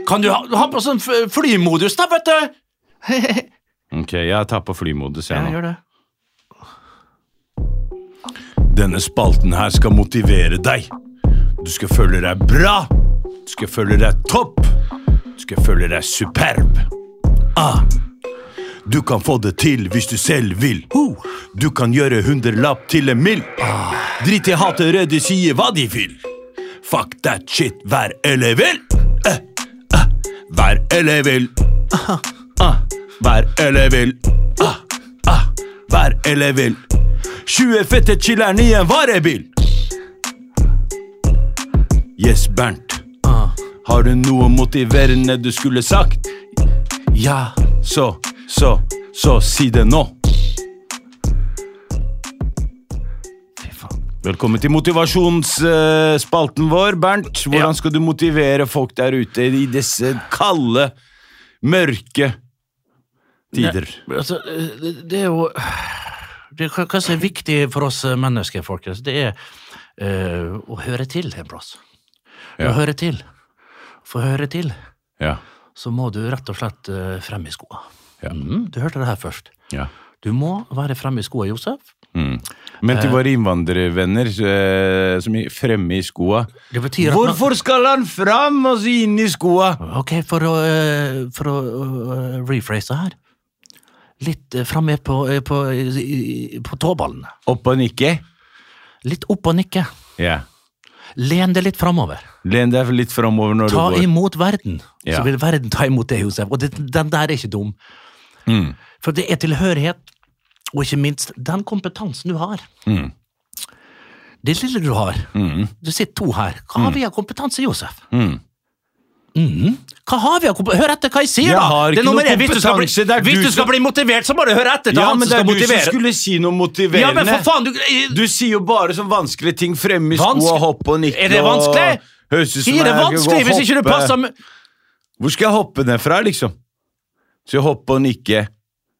[SPEAKER 2] Kan du ha, ha på sånn f- flymodus, da, vet du?
[SPEAKER 4] Ok, jeg tar på flymodus, jeg
[SPEAKER 2] Ja,
[SPEAKER 4] nå.
[SPEAKER 2] gjør det.
[SPEAKER 4] Denne spalten her skal motivere deg. Du skal føle deg bra. Du skal føle deg topp. Du skal føle deg superb. Ah. Du kan få det til hvis du selv vil. Du kan gjøre hundrelapp til en mill. Drit i hatet, redd de sier hva de vil. Fuck that shit, vær eller vil. Eh, eh, Vær eller vil. Ah, Vær eller vil. Ah, ah, Vær eller vil. 20 fette chiller'n i en varebil. Yes, Bernt.
[SPEAKER 2] Ah,
[SPEAKER 4] Har du noe motiverende du skulle sagt?
[SPEAKER 2] Ja.
[SPEAKER 4] Så, så, så si det nå.
[SPEAKER 2] Fy faen.
[SPEAKER 4] Velkommen til motivasjonsspalten vår, Bernt. Hvordan skal du motivere folk der ute i disse kalde, mørke tider?
[SPEAKER 2] Altså, det, det er jo det, er hva- Hva som er viktig for oss eh, mennesker, folkens, det er eh, å høre til en plass. Å
[SPEAKER 4] Ja.
[SPEAKER 2] høre til. For å høre til,
[SPEAKER 4] Ja.
[SPEAKER 2] så må du rett og slett eh, frem i skoa.
[SPEAKER 4] Ja.
[SPEAKER 2] Mm, du hørte det her først.
[SPEAKER 4] ja.
[SPEAKER 2] Du må være fremme i skoa, Josef.
[SPEAKER 4] Men til våre innvandrervenner eh, som er fremme i skoa
[SPEAKER 2] Det betyr at man-
[SPEAKER 4] Hvorfor skal han fram og så inn i skoa?
[SPEAKER 2] Ok, for å, eh, for å eh, rephrase her. Litt eh, fremme på, eh, på, i- i- på tåballene.
[SPEAKER 4] Opp og nikke?
[SPEAKER 2] Litt opp og nikke.
[SPEAKER 4] Ja.
[SPEAKER 2] Len deg litt framover.
[SPEAKER 4] Len deg litt framover når
[SPEAKER 2] Ta
[SPEAKER 4] du går.
[SPEAKER 2] imot verden,
[SPEAKER 4] Ja.
[SPEAKER 2] så vil verden ta imot deg, Josef. Og det, den der er ikke dum.
[SPEAKER 4] Mm.
[SPEAKER 2] For det er tilhørighet, og ikke minst den kompetansen du har.
[SPEAKER 4] Mm.
[SPEAKER 2] Det lille du har. Du sitter to her. Hva
[SPEAKER 4] Mm.
[SPEAKER 2] har vi av kompetanse, Josef? Mhm. Hva har vi av kompetanse? Hør etter hva jeg sier,
[SPEAKER 4] Jeg
[SPEAKER 2] da!
[SPEAKER 4] har
[SPEAKER 2] det er
[SPEAKER 4] ikke
[SPEAKER 2] nummer
[SPEAKER 4] noe
[SPEAKER 2] én. Hvis du skal bli,
[SPEAKER 4] kompetanse, det er
[SPEAKER 2] hvis
[SPEAKER 4] du
[SPEAKER 2] du
[SPEAKER 4] som-
[SPEAKER 2] skal bli motivert, så må du høre etter til
[SPEAKER 4] Ja,
[SPEAKER 2] han som
[SPEAKER 4] men det er
[SPEAKER 2] skal
[SPEAKER 4] du som
[SPEAKER 2] motivere.
[SPEAKER 4] skulle si noe motiverende.
[SPEAKER 2] Ja, men for faen, du,
[SPEAKER 4] Du sier jo bare sånn vanskelige ting. Fremme i skoa,
[SPEAKER 2] Vanske-
[SPEAKER 4] hoppe og nikke
[SPEAKER 2] Er det vanskelig?
[SPEAKER 4] og Høres ut som
[SPEAKER 2] Sier det
[SPEAKER 4] jeg skal gå
[SPEAKER 2] vanskelig
[SPEAKER 4] og
[SPEAKER 2] hvis ikke du
[SPEAKER 4] hoppe.
[SPEAKER 2] passer med
[SPEAKER 4] Hvor skal jeg hoppe ned fra, liksom? Så jeg hoppe og nikke.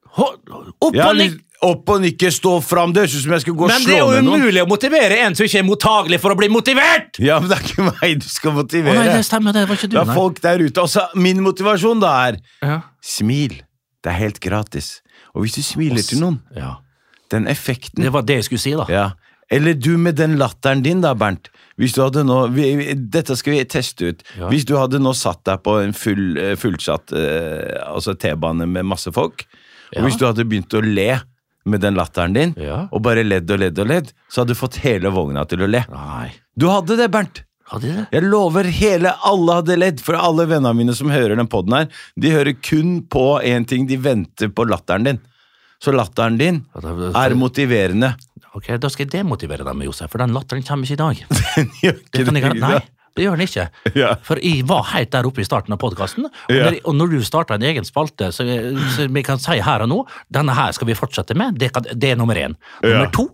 [SPEAKER 2] Ho- Opp og
[SPEAKER 4] Jeg har
[SPEAKER 2] nikk!
[SPEAKER 4] lyst- Opp og nikke, stå fram, det høres ut som jeg skal gå og
[SPEAKER 2] Men det
[SPEAKER 4] slå
[SPEAKER 2] er jo
[SPEAKER 4] ned noen.
[SPEAKER 2] umulig å motivere en som ikke er mottagelig for å bli motivert!
[SPEAKER 4] Ja, men det er ikke meg du skal
[SPEAKER 2] Å
[SPEAKER 4] motivere.
[SPEAKER 2] nei, det stemmer, det var ikke du,
[SPEAKER 4] Det er
[SPEAKER 2] nei.
[SPEAKER 4] folk der ute. Altså, min motivasjon da er
[SPEAKER 2] Ja.
[SPEAKER 4] smil. Det er helt gratis. Og hvis du smiler til noen,
[SPEAKER 2] Ja.
[SPEAKER 4] den effekten
[SPEAKER 2] Det var det jeg skulle si, da.
[SPEAKER 4] ja. Eller du med den latteren din da, Bernt. Hvis du hadde nå, vi, vi- dette skal vi teste ut.
[SPEAKER 2] Ja.
[SPEAKER 4] Hvis du hadde nå satt deg på en full, eh, fullsatt eh, altså T-bane med masse folk, og hvis du hadde begynt å le med den latteren din,
[SPEAKER 2] Ja.
[SPEAKER 4] og bare ledd og ledd og ledd, så hadde du fått hele vogna til å le.
[SPEAKER 2] Nei.
[SPEAKER 4] Du hadde det, Bernt.
[SPEAKER 2] Hadde jeg det?
[SPEAKER 4] Jeg lover hele alle hadde ledd, for alle vennene mine som hører den podden her, de hører kun på én ting, de venter på latteren din. Så latteren din
[SPEAKER 2] Ja, det- det-
[SPEAKER 4] er motiverende.
[SPEAKER 2] Ok, Da skal jeg demotivere deg med Josef, for den latteren kommer ikke i dag.
[SPEAKER 4] Gjør ikke
[SPEAKER 2] Det kan jeg,
[SPEAKER 4] Ida?
[SPEAKER 2] nei, det gjør den ikke.
[SPEAKER 4] Ja.
[SPEAKER 2] For jeg var helt der oppe i starten av podkasten. Og,
[SPEAKER 4] Ja.
[SPEAKER 2] når- og når du starter en egen spalte, så, så vi kan si her og nå denne her skal vi fortsette med, det, kan, det er nummer én. Nummer
[SPEAKER 4] Ja.
[SPEAKER 2] to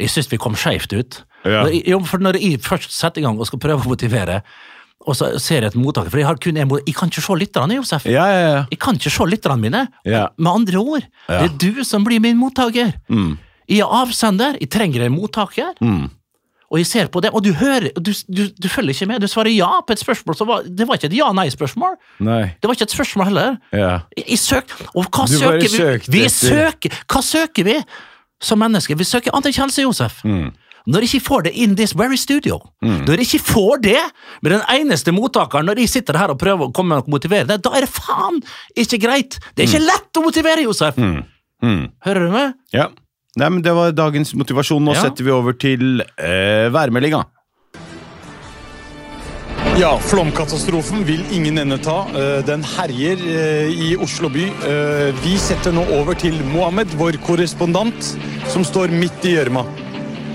[SPEAKER 2] Jeg syns vi kom skeivt ut.
[SPEAKER 4] Ja.
[SPEAKER 2] Når jeg- Jo, for når jeg først setter i gang og skal prøve å motivere, og så ser jeg et mottaker For jeg har kun en mot- Jeg kan ikke se lytterne, Josef.
[SPEAKER 4] Ja, ja, ja.
[SPEAKER 2] Jeg kan ikke se lytterne mine.
[SPEAKER 4] Ja.
[SPEAKER 2] Med andre ord, det er du som blir min mottaker. Jeg er avsender, jeg trenger en mottaker. Og jeg ser på det, og du hører, og du, du, du følger ikke med. Du svarer ja på et spørsmål som var Det var ikke et ja-nei-spørsmål.
[SPEAKER 4] Nei.
[SPEAKER 2] Det var ikke et spørsmål heller.
[SPEAKER 4] Ja.
[SPEAKER 2] Jeg, jeg søk, og hva
[SPEAKER 4] Du
[SPEAKER 2] søker
[SPEAKER 4] bare
[SPEAKER 2] vi?
[SPEAKER 4] søkte
[SPEAKER 2] Vi
[SPEAKER 4] etter-
[SPEAKER 2] søker, hva søker vi som mennesker? Vi søker anerkjennelse, Josef.
[SPEAKER 4] Mm.
[SPEAKER 2] Når jeg ikke får det in this very studio, når jeg ikke får det med den eneste mottakeren, når jeg sitter her og prøver å komme og motivere deg, da er det faen ikke greit! Det er
[SPEAKER 4] Mm.
[SPEAKER 2] ikke lett å motivere, Josef! Hører du meg?
[SPEAKER 4] ja. Nei, men Det var dagens motivasjon. Nå
[SPEAKER 2] Ja.
[SPEAKER 4] setter vi over til eh, værmeldinga.
[SPEAKER 6] Ja, flomkatastrofen vil ingen ende ta. Eh, Den herjer eh, i Oslo by. Eh, Vi setter nå over til Mohammed, vår korrespondent, som står midt i gjørma.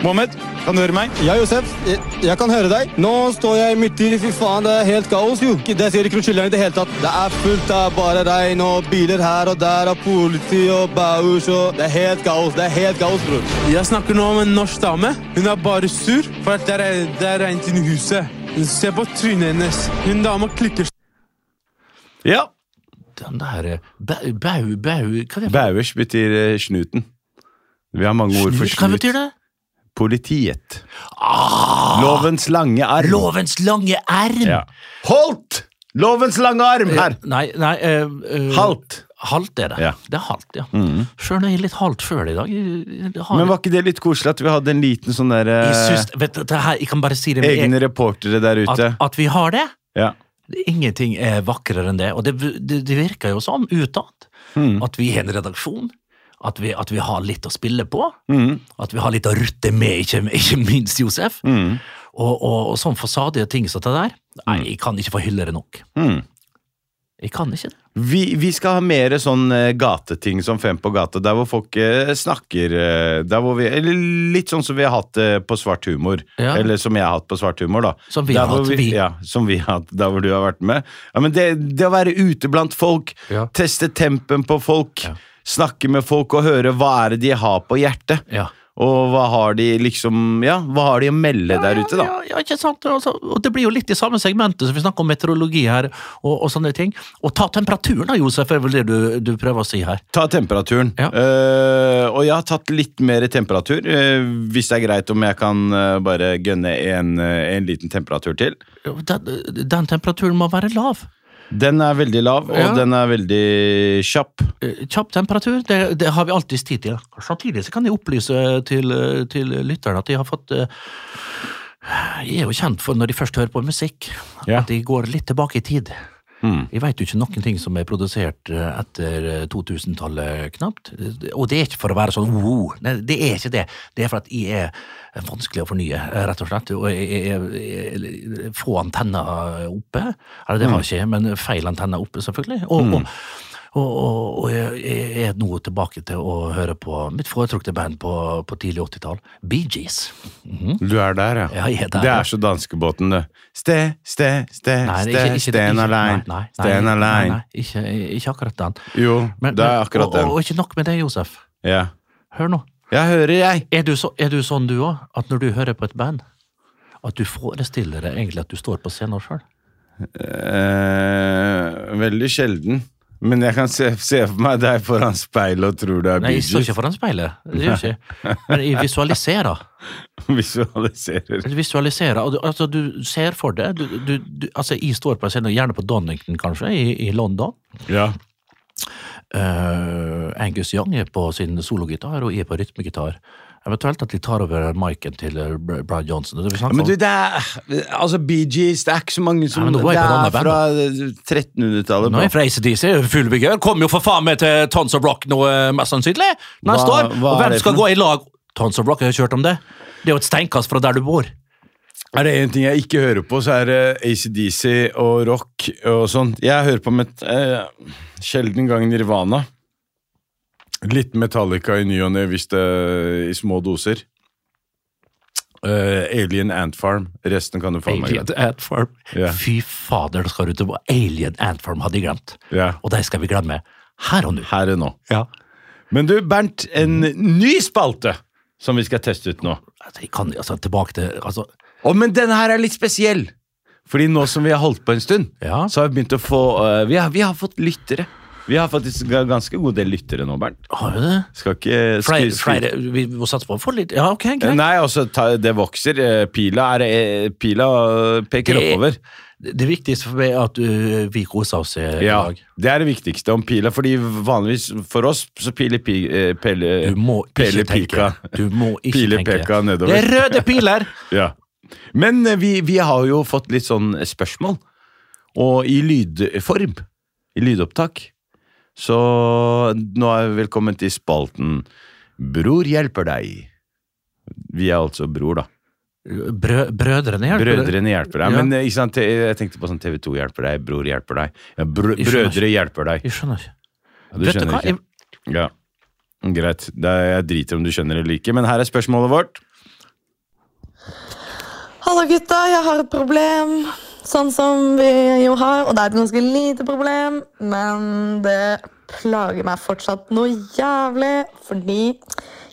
[SPEAKER 6] Mohammed, kan du høre meg?
[SPEAKER 7] Ja, Josef, jeg, jeg kan høre deg. Nå står jeg midt i Fy faen, det er helt kaos, jo. Det ser ikke noe chiller'n i det hele tatt. Det er fullt av bare regn og biler her og der og politi og baus og Det er helt kaos. Det er helt kaos, bror.
[SPEAKER 8] Jeg snakker nå om en norsk dame. Hun er bare sur, for at det er, det er rent inni huset. Se på trynet hennes. Hun dama klikker
[SPEAKER 4] Ja.
[SPEAKER 2] Den der eh, bau, bau, bau Hva er det?
[SPEAKER 4] Bauers betyr eh, snuten. Vi har mange ord for
[SPEAKER 2] Snut? Hva
[SPEAKER 4] snut.
[SPEAKER 2] betyr det? Ah!
[SPEAKER 4] Politiet. Lovens lange arm.
[SPEAKER 2] Lovens lange erm!
[SPEAKER 4] Ja. Holdt! Lovens lange arm her!
[SPEAKER 2] Nei, nei eh, eh,
[SPEAKER 4] Halt.
[SPEAKER 2] Halt er det.
[SPEAKER 4] Ja. Mm.
[SPEAKER 2] Det er halt, ja. Sjøl er jeg litt halt sjøl i dag. Jeg, jeg har,
[SPEAKER 4] Men var ikke det litt koselig at vi hadde en liten sånn der eh,
[SPEAKER 2] jeg syns, vet du, det her, jeg kan bare si det med
[SPEAKER 4] Egne reportere der
[SPEAKER 2] at,
[SPEAKER 4] ute.
[SPEAKER 2] at vi har det.
[SPEAKER 4] Ja.
[SPEAKER 2] Ingenting er vakrere enn det. Og det, det, det virker jo som, utad,
[SPEAKER 4] Mm.
[SPEAKER 2] at vi er en redaksjon. At vi, at vi har litt å spille på.
[SPEAKER 4] Mm,
[SPEAKER 2] At vi har litt å rutte med, ikke, ikke minst Josef.
[SPEAKER 4] mm,
[SPEAKER 2] Og, og, og sånn fasadige ting som det der. Nei, jeg kan ikke få hylle det nok. Jeg kan ikke det.
[SPEAKER 4] mm. Vi, vi skal ha mer sånn eh, gateting som Fem på gata, der hvor folk eh, snakker eh, der hvor vi, Eller litt sånn som vi har hatt eh, på Svart humor.
[SPEAKER 2] Ja.
[SPEAKER 4] Eller som jeg har hatt på Svart humor, da.
[SPEAKER 2] Som vi
[SPEAKER 4] Der
[SPEAKER 2] har
[SPEAKER 4] hvor
[SPEAKER 2] hatt, vi.
[SPEAKER 4] Ja, som vi har hatt, der hvor du har vært med. Ja, men det, det å være ute blant folk,
[SPEAKER 2] Ja.
[SPEAKER 4] teste tempen på folk, snakke med folk og høre hva er det de har på hjertet.
[SPEAKER 2] Ja.
[SPEAKER 4] Og hva har de liksom Ja, hva har de å melde der ute, da?
[SPEAKER 2] Ja, ja, ikke sant? Altså, og det blir jo litt i samme segmentet, så vi snakker om meteorologi her, og, og sånne ting. Og ta temperaturen da, Josef, er vel det du, du prøver å si her.
[SPEAKER 4] Ta temperaturen.
[SPEAKER 2] Ja.
[SPEAKER 4] Eh, og jeg har tatt litt mer temperatur, eh, hvis det er greit om jeg kan eh, bare gønne en, eh, en liten temperatur til.
[SPEAKER 2] Den, den temperaturen må være lav.
[SPEAKER 4] Den er veldig lav, og
[SPEAKER 2] Ja.
[SPEAKER 4] den er veldig kjapp.
[SPEAKER 2] Eh, Kjapp temperatur, det, det har vi alltids tid til. Samtidig så kan jeg opplyse til, eh, til lytterne at de har fått eh, Jeg er jo kjent for, når de først hører på musikk,
[SPEAKER 4] Ja.
[SPEAKER 2] at de går litt tilbake i tid. Jeg veit jo ikke noen ting som er produsert eh, etter eh, 2000-tallet, knapt. Eh, Og det er ikke for å være sånn wow, nei, det er ikke det. Det er for at jeg er vanskelig å fornye, eh, rett og slett. Og jeg, jeg, jeg, jeg få antenner oppe. Eller det har jeg ikke, men feil antenner oppe, selvfølgelig. Og, og, og, og, og jeg, jeg er nå tilbake til å høre på mitt foretrukne band på, på tidlig 80-tall, Bee Gees.
[SPEAKER 4] Du er der,
[SPEAKER 2] Mm. Ja, jeg er der,
[SPEAKER 4] det
[SPEAKER 2] ja.
[SPEAKER 4] er så danskebåten, det. Ste, ste, ste,
[SPEAKER 2] Nei, det er
[SPEAKER 4] ste,
[SPEAKER 2] ikke- ikke-
[SPEAKER 4] sten
[SPEAKER 2] ikke-
[SPEAKER 4] alein.
[SPEAKER 2] nei, nei,
[SPEAKER 4] Sten
[SPEAKER 2] nei, nei,
[SPEAKER 4] alein.
[SPEAKER 2] nei, Ikke ikke akkurat den.
[SPEAKER 4] Jo, det er akkurat
[SPEAKER 2] og, og,
[SPEAKER 4] den.
[SPEAKER 2] og ikke nok med det, Josef.
[SPEAKER 4] Ja.
[SPEAKER 2] Hør nå.
[SPEAKER 4] Jeg hører, jeg.
[SPEAKER 2] Er du, så, er du sånn du òg, at når du hører på et band, at du forestiller deg egentlig at du står på scenen sjøl?
[SPEAKER 4] Eh, veldig sjelden. Men jeg kan se, se for meg deg foran speilet og tror du er
[SPEAKER 2] Nei, jeg står
[SPEAKER 4] Bee
[SPEAKER 2] ikke foran speilet. Det gjør jeg ikke. Men jeg visualiserer.
[SPEAKER 4] Gees. Visualiserer.
[SPEAKER 2] Jeg visualiserer. og Du, altså, du ser for deg du, du, du, altså, Jeg står på en scene, gjerne på Donington, kanskje, i, i London.
[SPEAKER 4] Ja.
[SPEAKER 2] Eh, Angus Young er på sin sologitar, og jeg er på rytmegitar. Eventuelt at de tar over miken til eh, Br- Brad Johnson. Det blir snakk
[SPEAKER 4] Men
[SPEAKER 2] om-
[SPEAKER 4] du, det er Altså, Bee Gees, det er ikke så mange som
[SPEAKER 2] Nei, men nå
[SPEAKER 4] Det
[SPEAKER 2] er jeg på et
[SPEAKER 4] er
[SPEAKER 2] annet band,
[SPEAKER 4] fra 1300-tallet.
[SPEAKER 2] Nå er
[SPEAKER 4] bro.
[SPEAKER 2] jeg fra ACDC, full begjær. Kommer jo for faen meg til Tons of Rock nå, eh, mest sannsynlig. Neste
[SPEAKER 4] Hva-
[SPEAKER 2] år.
[SPEAKER 4] hva
[SPEAKER 2] Og
[SPEAKER 4] er
[SPEAKER 2] hvem
[SPEAKER 4] det
[SPEAKER 2] skal
[SPEAKER 4] for noe?
[SPEAKER 2] gå i lag? Tons of Rock, jeg har hørt om det. Det er jo et steinkast fra der du bor.
[SPEAKER 4] Er det én ting jeg ikke hører på, så er det ACDC og rock og sånt. Jeg hører på met eh, sjelden gang Nirvana. Litt Metallica i ny og ne, hvis det i små doser. Eh, Alien Ant Farm. Resten kan du faen meg
[SPEAKER 2] Alien
[SPEAKER 4] glemme.
[SPEAKER 2] Ant Farm.
[SPEAKER 4] Ja.
[SPEAKER 2] Fy fader, det skal du til. Alien Ant Farm hadde jeg glemt.
[SPEAKER 4] Ja.
[SPEAKER 2] Og det skal vi glemme her og nå.
[SPEAKER 4] Her og nå.
[SPEAKER 2] Ja.
[SPEAKER 4] Men du, Bernt, en ny spalte som vi skal teste ut nå.
[SPEAKER 2] Altså, jeg kan, altså, tilbake til altså,
[SPEAKER 4] Å, men denne her er litt spesiell. Fordi nå som vi har holdt på en stund,
[SPEAKER 2] Ja.
[SPEAKER 4] så har vi begynt å få eh, vi, har, vi har fått lyttere. Vi har faktisk ga- ganske god del lyttere nå, Bernt.
[SPEAKER 2] Har vi det?
[SPEAKER 4] Skal ikke
[SPEAKER 2] Flere,
[SPEAKER 4] skri- skri-
[SPEAKER 2] flere, vi må satse på å få litt Ja, ok, greit.
[SPEAKER 4] Nei, altså, ta, det vokser. Eh, Pila, er, eh, pila eh, peker
[SPEAKER 2] Det-
[SPEAKER 4] oppover.
[SPEAKER 2] Det viktigste for meg er at ø, vi koser oss eh, i
[SPEAKER 4] Ja,
[SPEAKER 2] dag.
[SPEAKER 4] Det er det viktigste om pila, fordi vanligvis for oss så piler pi, eh, pele,
[SPEAKER 2] Du må ikke
[SPEAKER 4] pele
[SPEAKER 2] tenke.
[SPEAKER 4] pika.
[SPEAKER 2] Du må ikke
[SPEAKER 4] Pile
[SPEAKER 2] tenke.
[SPEAKER 4] peka nedover.
[SPEAKER 2] Det er røde piler!
[SPEAKER 4] Ja. Men eh, vi, vi har jo fått litt sånn spørsmål, og i lydform, i lydopptak. Så nå er vi velkommen til spalten Bror hjelper deg. Vi er altså bror, da.
[SPEAKER 2] Brø, brødrene hjelper.
[SPEAKER 4] Brødrene hjelper deg.
[SPEAKER 2] Ja.
[SPEAKER 4] Men eh, ikke sant, te- jeg tenkte på sånn TV2 hjelper deg, Bror hjelper deg. Ja, br
[SPEAKER 2] Jeg skjønner
[SPEAKER 4] brødre hjelper deg.
[SPEAKER 2] Jeg skjønner ikke.
[SPEAKER 4] Ja,
[SPEAKER 2] Vet du
[SPEAKER 4] Du
[SPEAKER 2] hva?
[SPEAKER 4] skjønner ikke. Ja. Greit. Det er, jeg driter om du skjønner eller ikke, men her er spørsmålet vårt.
[SPEAKER 9] Hallo gutta, jeg har et problem. Sånn som vi jo har, og det er et ganske lite problem, men det plager meg fortsatt noe jævlig, fordi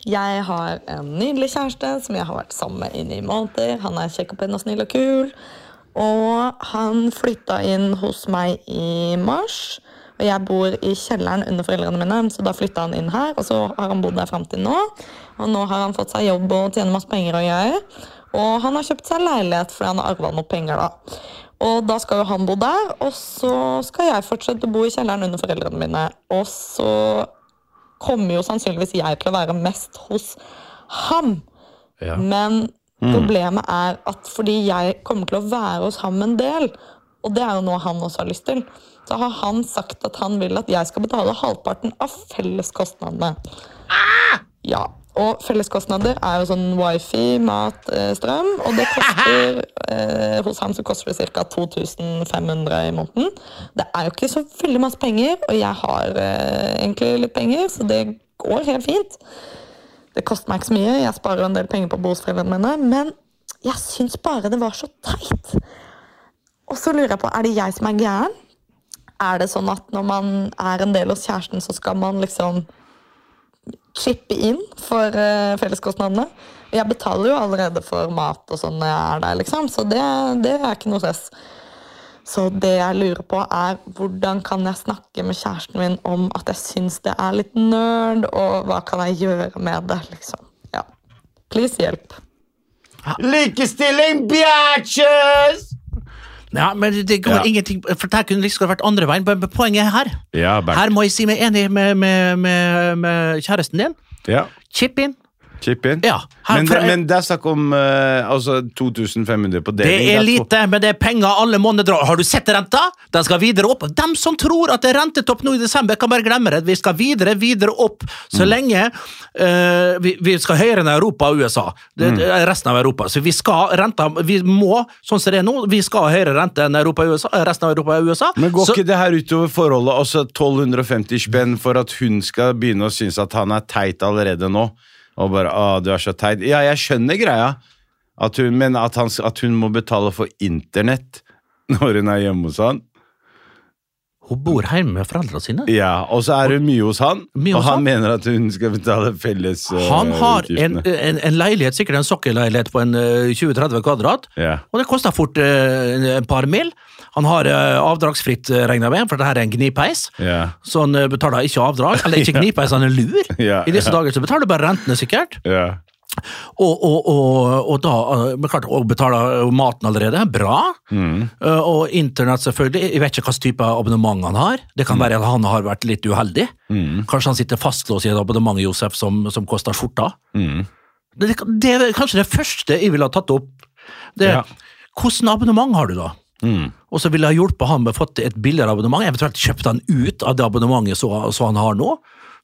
[SPEAKER 9] jeg har en nydelig kjæreste som jeg har vært sammen med i ni måneder. Han er kjekk og pen og snill og kul, og han flytta inn hos meg i mars. Og jeg bor i kjelleren under foreldrene mine, så da flytta han inn her. Og så har han bodd der fram til nå. Og nå har han fått seg jobb og tjener masse penger og greier. Og han har kjøpt seg leilighet fordi han har arva noe penger, da. Og da skal jo han bo der, og så skal jeg fortsette å bo i kjelleren under foreldrene mine. Og så kommer jo sannsynligvis jeg til å være mest hos ham.
[SPEAKER 2] Ja.
[SPEAKER 9] Men problemet er at fordi jeg kommer til å være hos ham en del, og det er jo noe han også har lyst til, så har han sagt at han vil at jeg skal betale halvparten av felleskostnadene. Ja, og felleskostnader er jo sånn wifi, mat, eh, strøm, og det koster eh, Hos ham så koster det ca. 2500 i måneden. Det er jo ikke så veldig masse penger, og jeg har eh, egentlig litt penger, så det går helt fint. Det koster meg ikke så mye, jeg sparer en del penger på bosforeldrene mine, men jeg syns bare det var så teit. Og så lurer jeg på, er det jeg som er gæren? Er det sånn at når man er en del hos kjæresten, så skal man liksom chippe inn for eh, felleskostnadene? Jeg betaler jo allerede for mat og sånn når jeg er der, liksom, så det, det er ikke noe stress. Så det jeg lurer på er, hvordan kan jeg snakke med kjæresten min om at jeg syns det er litt nerd, og hva kan jeg gjøre med det, liksom. Ja. Please hjelp.
[SPEAKER 4] Likestilling, bjætsjes!
[SPEAKER 2] Ja, men det går
[SPEAKER 4] Ja.
[SPEAKER 2] ingenting For der kunne det liksom vært andre veien. Men poenget er her.
[SPEAKER 4] Ja,
[SPEAKER 2] Her
[SPEAKER 4] Bernt.
[SPEAKER 2] må jeg si meg enig med, med, med, med kjæresten din.
[SPEAKER 4] Ja.
[SPEAKER 2] Chip in.
[SPEAKER 4] Chip in.
[SPEAKER 2] Ja, her-
[SPEAKER 4] men,
[SPEAKER 2] for-
[SPEAKER 4] men det er snakk om eh, altså 2500 på
[SPEAKER 2] Det
[SPEAKER 4] deling.
[SPEAKER 2] er
[SPEAKER 4] to-
[SPEAKER 2] lite, men det er penger alle måneder drar. Har du sett renta? Den skal videre opp. Dem som tror at det er rentetopp nå i desember, kan bare glemme det. Vi skal videre, videre opp. Så lenge eh, vi, vi skal høyere enn Europa og USA. Det, det er resten av Europa. Så vi skal renta Vi må, sånn som det er nå, vi skal ha høyere rente enn Europa og USA, eh, resten av Europa og USA.
[SPEAKER 4] Men går
[SPEAKER 2] så,
[SPEAKER 4] ikke det her utover forholdet? Altså 1250 spenn for at hun skal begynne å synes at han er teit allerede nå. Og bare 'Å, du er så teit'. Ja, jeg skjønner greia, at hun, men at, han, at hun må betale for internett når hun er hjemme hos han.
[SPEAKER 2] Hun bor hjemme med foreldrene sine.
[SPEAKER 4] Ja, Og så er hun mye hos han,
[SPEAKER 2] Mye
[SPEAKER 4] og
[SPEAKER 2] hos
[SPEAKER 4] han
[SPEAKER 2] han?
[SPEAKER 4] mener at hun skal betale felles eh,
[SPEAKER 2] Han har en,
[SPEAKER 4] utgiftene.
[SPEAKER 2] en, en leilighet, sikkert en sokkelleilighet på en eh, 20-30 kvadrat.
[SPEAKER 4] Ja.
[SPEAKER 2] Og det koster fort eh, en- en par mil. Han har eh, avdragsfritt, eh, regner jeg med, for det her er en gnipeis.
[SPEAKER 4] Ja.
[SPEAKER 2] Så han eh, betaler ikke avdrag. Eller ikke gnipeis, han er lur.
[SPEAKER 4] Ja,
[SPEAKER 2] I disse
[SPEAKER 4] ja.
[SPEAKER 2] dager så betaler du bare rentene, sikkert.
[SPEAKER 4] Ja.
[SPEAKER 2] Og, og, og, og da eh, men klart, og betaler jo maten allerede. Bra.
[SPEAKER 4] Mm.
[SPEAKER 2] Eh, Og internett, selvfølgelig. Jeg vet ikke hvilken type abonnement han har. Det
[SPEAKER 4] Mm.
[SPEAKER 2] kan være at han har vært litt uheldig. Kanskje han sitter fastlåst i et abonnement Josef, som, som koster skjorta.
[SPEAKER 4] Mm.
[SPEAKER 2] Det, det er kanskje det første jeg ville ha tatt opp. Det,
[SPEAKER 4] Ja. Mm.
[SPEAKER 2] er, Hvordan abonnement har du, da? Og så ville jeg ha hjulpet han med å få til et billigere abonnement, eventuelt kjøpt han ut av det abonnementet så, så han har nå.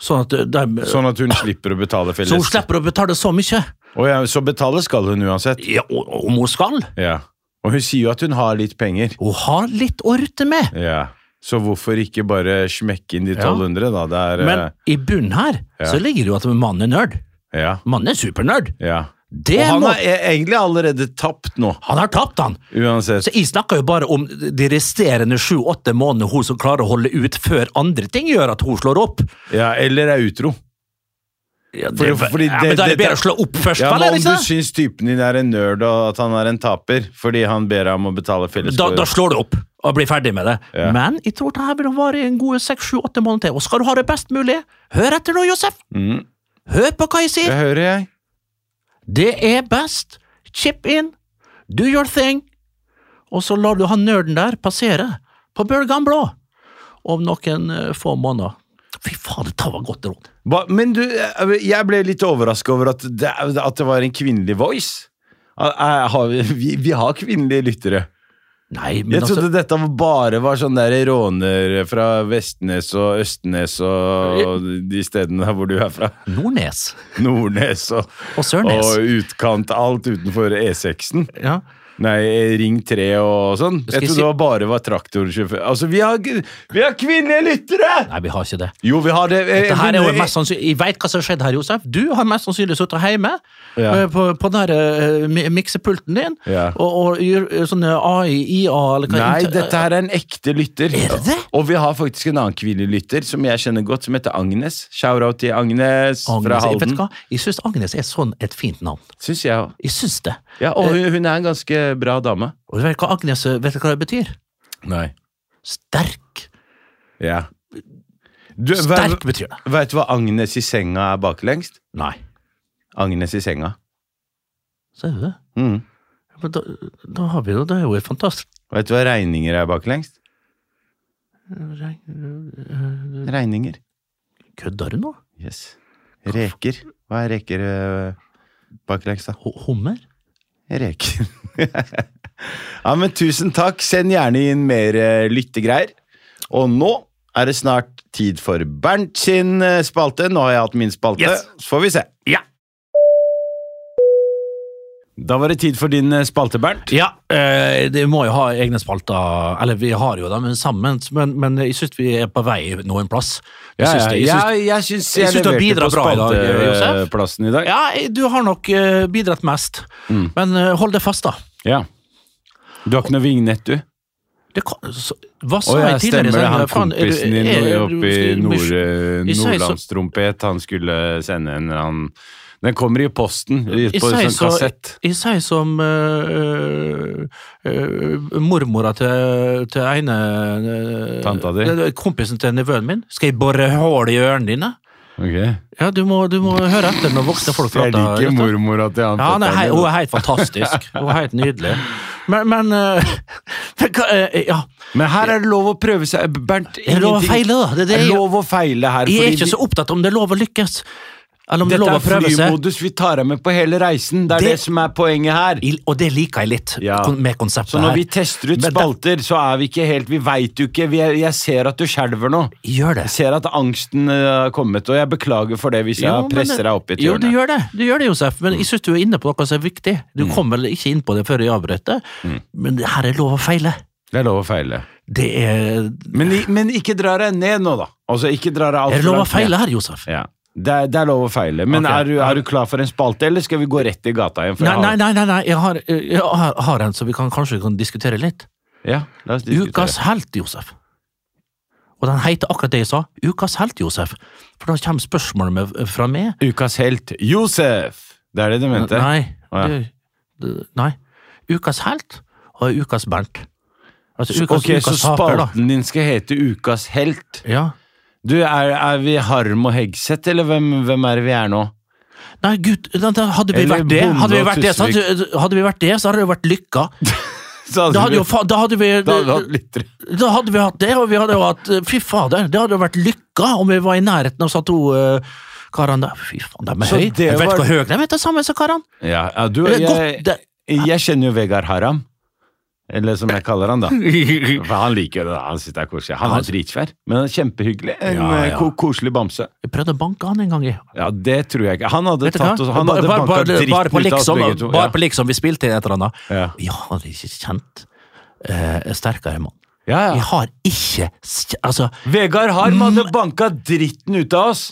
[SPEAKER 2] Sånn at, de, så,
[SPEAKER 4] Sånn at hun slipper å betale felles.
[SPEAKER 2] hun slipper å betale så mye.
[SPEAKER 4] Å ja, så betale skal hun uansett.
[SPEAKER 2] Ja, og- og om hun skal.
[SPEAKER 4] Ja. Og hun sier jo at hun har litt penger.
[SPEAKER 2] Hun har litt å rutte med.
[SPEAKER 4] Ja. Så hvorfor ikke bare smekke inn de 1200, da? Det er
[SPEAKER 2] Men i bunnen her
[SPEAKER 4] Ja.
[SPEAKER 2] så ligger det jo at mannen er nerd.
[SPEAKER 4] eh, Ja.
[SPEAKER 2] Mannen er supernerd.
[SPEAKER 4] ja.
[SPEAKER 2] Det
[SPEAKER 4] Og han
[SPEAKER 2] må,
[SPEAKER 4] har e- egentlig allerede tapt nå,
[SPEAKER 2] han har tapt, han.
[SPEAKER 4] uansett.
[SPEAKER 2] Så jeg snakker jo bare om de resterende sju-åtte månedene hun som klarer å holde ut før andre ting gjør at hun slår opp.
[SPEAKER 4] Ja, eller er utro.
[SPEAKER 2] Ja, det,
[SPEAKER 4] Fordi- fordi
[SPEAKER 2] ja,
[SPEAKER 4] det-
[SPEAKER 2] men da er det
[SPEAKER 4] det-
[SPEAKER 2] bedre å slå opp først,
[SPEAKER 4] Ja,
[SPEAKER 2] vel?
[SPEAKER 4] men
[SPEAKER 2] er
[SPEAKER 4] Om
[SPEAKER 2] det
[SPEAKER 4] du
[SPEAKER 2] ikke det?
[SPEAKER 4] syns typen din er en nerd og at han er en taper fordi han ber deg om å betale felles
[SPEAKER 2] Da, da slår du opp og blir ferdig med det.
[SPEAKER 4] Ja.
[SPEAKER 2] Men jeg tror det her vil vare i en god seks, sju, åtte måneder til. Og skal du ha det best mulig, hør etter nå, Josef!
[SPEAKER 4] Mm.
[SPEAKER 2] Hør på hva jeg sier!
[SPEAKER 4] Det hører jeg.
[SPEAKER 2] Det er best. Chip in. Do your thing. Og så lar du han nerden der passere på bølgene blå om noen eh, få måneder. Fy faen, dette var godt råd.
[SPEAKER 4] Ba, men du, eh, jeg ble litt overraska over at det, at det var en kvinnelig voice. Er- er- Har vi, vi, vi har kvinnelige lyttere.
[SPEAKER 2] Nei, men
[SPEAKER 4] Jeg
[SPEAKER 2] altså
[SPEAKER 4] trodde dette var- bare var sånn der råner fra Vestnes og Østnes og de stedene der hvor du er fra.
[SPEAKER 2] Nordnes
[SPEAKER 4] Nordnes og,
[SPEAKER 2] og Sørnes.
[SPEAKER 4] og utkant, alt utenfor E6-en.
[SPEAKER 2] Ja.
[SPEAKER 4] Nei, Ring 3 og sånn.
[SPEAKER 2] Skal
[SPEAKER 4] Jeg
[SPEAKER 2] jeg
[SPEAKER 4] trodde
[SPEAKER 2] si-
[SPEAKER 4] det var bare var traktorsjåfør. Altså, vi har, vi har kvinnelige lyttere!
[SPEAKER 2] Nei, vi har ikke det.
[SPEAKER 4] Jo, vi har det. eh,
[SPEAKER 2] Dette her er jo mest sannsynlig, Jeg veit hva som har skjedd her, Josef. Du har mest sannsynlig sittet hjemme
[SPEAKER 4] Ja.
[SPEAKER 2] eh, på, på den der, eh, mi- miksepulten din
[SPEAKER 4] Ja.
[SPEAKER 2] og, og gjør eh, sånne AI, IA eller hva
[SPEAKER 4] Nei,
[SPEAKER 2] inter-
[SPEAKER 4] dette her er en ekte lytter.
[SPEAKER 2] Er det det?
[SPEAKER 4] Og vi har faktisk en annen kvinnelig lytter som jeg kjenner godt, som heter Agnes. Shout-out til Agnes, fra
[SPEAKER 2] Agnes, jeg, vet du
[SPEAKER 4] Halden.
[SPEAKER 2] hva? jeg syns Agnes er sånn et fint navn.
[SPEAKER 4] Syns jeg òg.
[SPEAKER 2] Jeg syns det.
[SPEAKER 4] Ja, og hun, hun er en ganske bra dame.
[SPEAKER 2] Og du vet hva Agnes eh, vet du hva det betyr?
[SPEAKER 4] Nei.
[SPEAKER 2] Sterk.
[SPEAKER 4] Ja. Du,
[SPEAKER 2] Sterk betyr det.
[SPEAKER 4] Veit du hva Agnes i senga er baklengst?
[SPEAKER 2] Nei.
[SPEAKER 4] Agnes i senga.
[SPEAKER 2] Ser du det?
[SPEAKER 4] Mm.
[SPEAKER 2] Men da, da har vi det. Det er jo et fantastisk
[SPEAKER 4] Veit du hva regninger er baklengst? Regninger.
[SPEAKER 2] Kødder du nå?
[SPEAKER 4] Yes. Reker. Hva er reker øh, baklengs, da?
[SPEAKER 2] H Hummer?
[SPEAKER 4] Reker. ja, men tusen takk. Send gjerne inn mer eh, lyttegreier. Og nå er det snart tid for Bernt sin eh, spalte. Nå har jeg hatt min spalte.
[SPEAKER 2] Yes.
[SPEAKER 4] Så får vi se.
[SPEAKER 2] Ja.
[SPEAKER 4] Da var det tid for din eh, spalte, Bernt.
[SPEAKER 2] Ja, eh, det må jo ha egne spalter. Eller vi har jo det, men sammen. Men, men jeg syns vi er på vei noen plass. Jeg syns det. Jeg syns-
[SPEAKER 4] jeg, jeg syns
[SPEAKER 2] jeg syns du har
[SPEAKER 4] leverte på
[SPEAKER 2] bidratt bra i dag, eh, Josef.
[SPEAKER 4] spalteplassen i dag.
[SPEAKER 2] ja, du har nok eh, bidratt mest.
[SPEAKER 4] Mm.
[SPEAKER 2] Men eh, hold deg fast, da.
[SPEAKER 4] Ja. Du har ikke noe vignett, du?
[SPEAKER 2] Det kan, så, hva sa
[SPEAKER 4] Å ja,
[SPEAKER 2] jeg
[SPEAKER 4] stemmer
[SPEAKER 2] tidligere?
[SPEAKER 4] det.
[SPEAKER 2] Sånn,
[SPEAKER 4] Han
[SPEAKER 2] faen, er du-
[SPEAKER 4] kompisen din
[SPEAKER 2] er- er du-
[SPEAKER 4] oppe i nord, eh,
[SPEAKER 2] Jeg sier så-
[SPEAKER 4] nordlandstrompet, han skulle sende en eller annen Den kommer i posten i-
[SPEAKER 2] Jeg
[SPEAKER 4] på en
[SPEAKER 2] sier
[SPEAKER 4] sånn
[SPEAKER 2] så-
[SPEAKER 4] kassett.
[SPEAKER 2] Jeg sier som eh, øh, øh, mormora til, til ene øh,
[SPEAKER 4] Tanta di?
[SPEAKER 2] øh, Kompisen til nevøen min. Skal jeg bore hull i ørene dine?
[SPEAKER 4] Ok.
[SPEAKER 2] Ja, du må, du må høre etter når voksne folk
[SPEAKER 4] Jeg
[SPEAKER 2] prater.
[SPEAKER 4] liker
[SPEAKER 2] Jostein.
[SPEAKER 4] mormora til han
[SPEAKER 2] Ja, han er hei,
[SPEAKER 4] fetteren
[SPEAKER 2] hun
[SPEAKER 4] min.
[SPEAKER 2] er helt fantastisk. Hun er helt nydelig. Men, men øh, men hva, øh, Ja.
[SPEAKER 4] Men her er det lov å prøve seg. Bernt,
[SPEAKER 2] Er det lov å
[SPEAKER 4] ingenting-
[SPEAKER 2] feile, da? Det er det
[SPEAKER 4] er
[SPEAKER 2] jeg-
[SPEAKER 4] lov å feile her.
[SPEAKER 2] Jeg er
[SPEAKER 4] fordi
[SPEAKER 2] ikke
[SPEAKER 4] vi-
[SPEAKER 2] så opptatt om det er lov å lykkes, eller om det er
[SPEAKER 4] dette
[SPEAKER 2] lov
[SPEAKER 4] er
[SPEAKER 2] å prøve seg.
[SPEAKER 4] flymodus. Vi tar deg med på hele reisen. Det er det,
[SPEAKER 2] Det-
[SPEAKER 4] som er poenget her.
[SPEAKER 2] I- Og det liker jeg litt,
[SPEAKER 4] Ja.
[SPEAKER 2] kon- med konseptet
[SPEAKER 4] Så når
[SPEAKER 2] her.
[SPEAKER 4] vi tester
[SPEAKER 2] Men
[SPEAKER 4] ut
[SPEAKER 2] det-
[SPEAKER 4] spalter, så er vi ikke helt Vi veit jo ikke. Vi er, jeg ser at du skjelver nå.
[SPEAKER 2] Gjør det.
[SPEAKER 4] Jeg ser at angsten eh, har kommet, og jeg beklager for det hvis jeg
[SPEAKER 2] Jo, men-
[SPEAKER 4] presser deg opp i Mm. et
[SPEAKER 2] Jo, du
[SPEAKER 4] hjørne.
[SPEAKER 2] gjør det, du gjør det, Josef, men jeg syns du er inne på noe som er viktig. Du
[SPEAKER 4] Mm.
[SPEAKER 2] kom vel ikke inn på det før jeg avbrøt det, men det her er lov å feile.
[SPEAKER 4] Det er lov å feile.
[SPEAKER 2] Det er
[SPEAKER 4] Men, i- men ikke dra deg ned nå, da. Altså, ikke dra deg alt
[SPEAKER 2] Er det
[SPEAKER 4] for
[SPEAKER 2] lov å
[SPEAKER 4] langt ned.
[SPEAKER 2] feile her, Josef?
[SPEAKER 4] Ja. Det er, det er lov å feile. Men
[SPEAKER 2] Ok.
[SPEAKER 4] er, du, er du klar for en spalte, eller skal vi gå rett i gata igjen? for
[SPEAKER 2] Nei,
[SPEAKER 4] jeg
[SPEAKER 2] nei,
[SPEAKER 4] har-
[SPEAKER 2] nei, nei, nei. Jeg, har, jeg har, har en som vi kan, kanskje kan diskutere litt.
[SPEAKER 4] Ja, la oss diskutere.
[SPEAKER 2] Ukas helt, Josef. Og den heter akkurat det jeg sa. Ukas helt, Josef. For da kommer spørsmålet med, fra meg.
[SPEAKER 4] Ukas helt, Josef! Det er det du mente?
[SPEAKER 2] Nei.
[SPEAKER 4] Å, ja.
[SPEAKER 2] det- det- Nei. Ukas helt og ukas Bernt. Altså, ukas,
[SPEAKER 4] Ok, så
[SPEAKER 2] ukas taper, da.
[SPEAKER 4] spalten din skal hete Ukas helt.
[SPEAKER 2] Ja.
[SPEAKER 4] Du, er, er vi Harm og Hegseth, eller hvem, hvem er det vi er nå?
[SPEAKER 2] Nei, gud, da- da hadde vi
[SPEAKER 4] Eller
[SPEAKER 2] vært det, hadde vi
[SPEAKER 4] Bonde og
[SPEAKER 2] vært det, så hadde, hadde vi vært det, så hadde det jo vært lykka.
[SPEAKER 4] Så
[SPEAKER 2] Da hadde, jo, fa- da hadde vi
[SPEAKER 4] Altså, da hadde vi hatt lyttere.
[SPEAKER 2] Da hadde vi hatt det, og vi hadde jo hatt eh, Fy fader, det hadde jo vært lykka om vi var i nærheten av disse to uh, karene der. Fy faen, de er
[SPEAKER 4] Så
[SPEAKER 2] høye.
[SPEAKER 4] det
[SPEAKER 2] Jeg vet
[SPEAKER 4] var-
[SPEAKER 2] ikke hvor høye de er, det er samme som karene.
[SPEAKER 4] Ja, ja, du,
[SPEAKER 2] Det er
[SPEAKER 4] jeg,
[SPEAKER 2] godt, det-
[SPEAKER 4] jeg kjenner jo Vegard Haram. Eller som jeg kaller han, da. For han liker jo det. da. Han synes det er koselig. Han er dritfær, men han er kjempehyggelig. En
[SPEAKER 2] Ja, ja.
[SPEAKER 4] eh, ko- koselig bamse.
[SPEAKER 2] Jeg prøvde å banke han en gang, jeg.
[SPEAKER 4] Ja, det tror jeg ikke. Han hadde
[SPEAKER 2] Vet du hva?
[SPEAKER 4] tatt oss Han hadde
[SPEAKER 2] Bare-
[SPEAKER 4] banka
[SPEAKER 2] bare-
[SPEAKER 4] dritten
[SPEAKER 2] bare på
[SPEAKER 4] ut av oss
[SPEAKER 2] liksom-
[SPEAKER 4] begge to.
[SPEAKER 2] Bare på liksom vi spilte et eller annet.
[SPEAKER 4] Ja.
[SPEAKER 2] Jeg har ikke kjent eh, en sterkere mann.
[SPEAKER 4] Ja,
[SPEAKER 2] Jeg
[SPEAKER 4] ja.
[SPEAKER 2] har ikke s- Altså,
[SPEAKER 4] Vegard Harm hadde banka dritten ut av oss!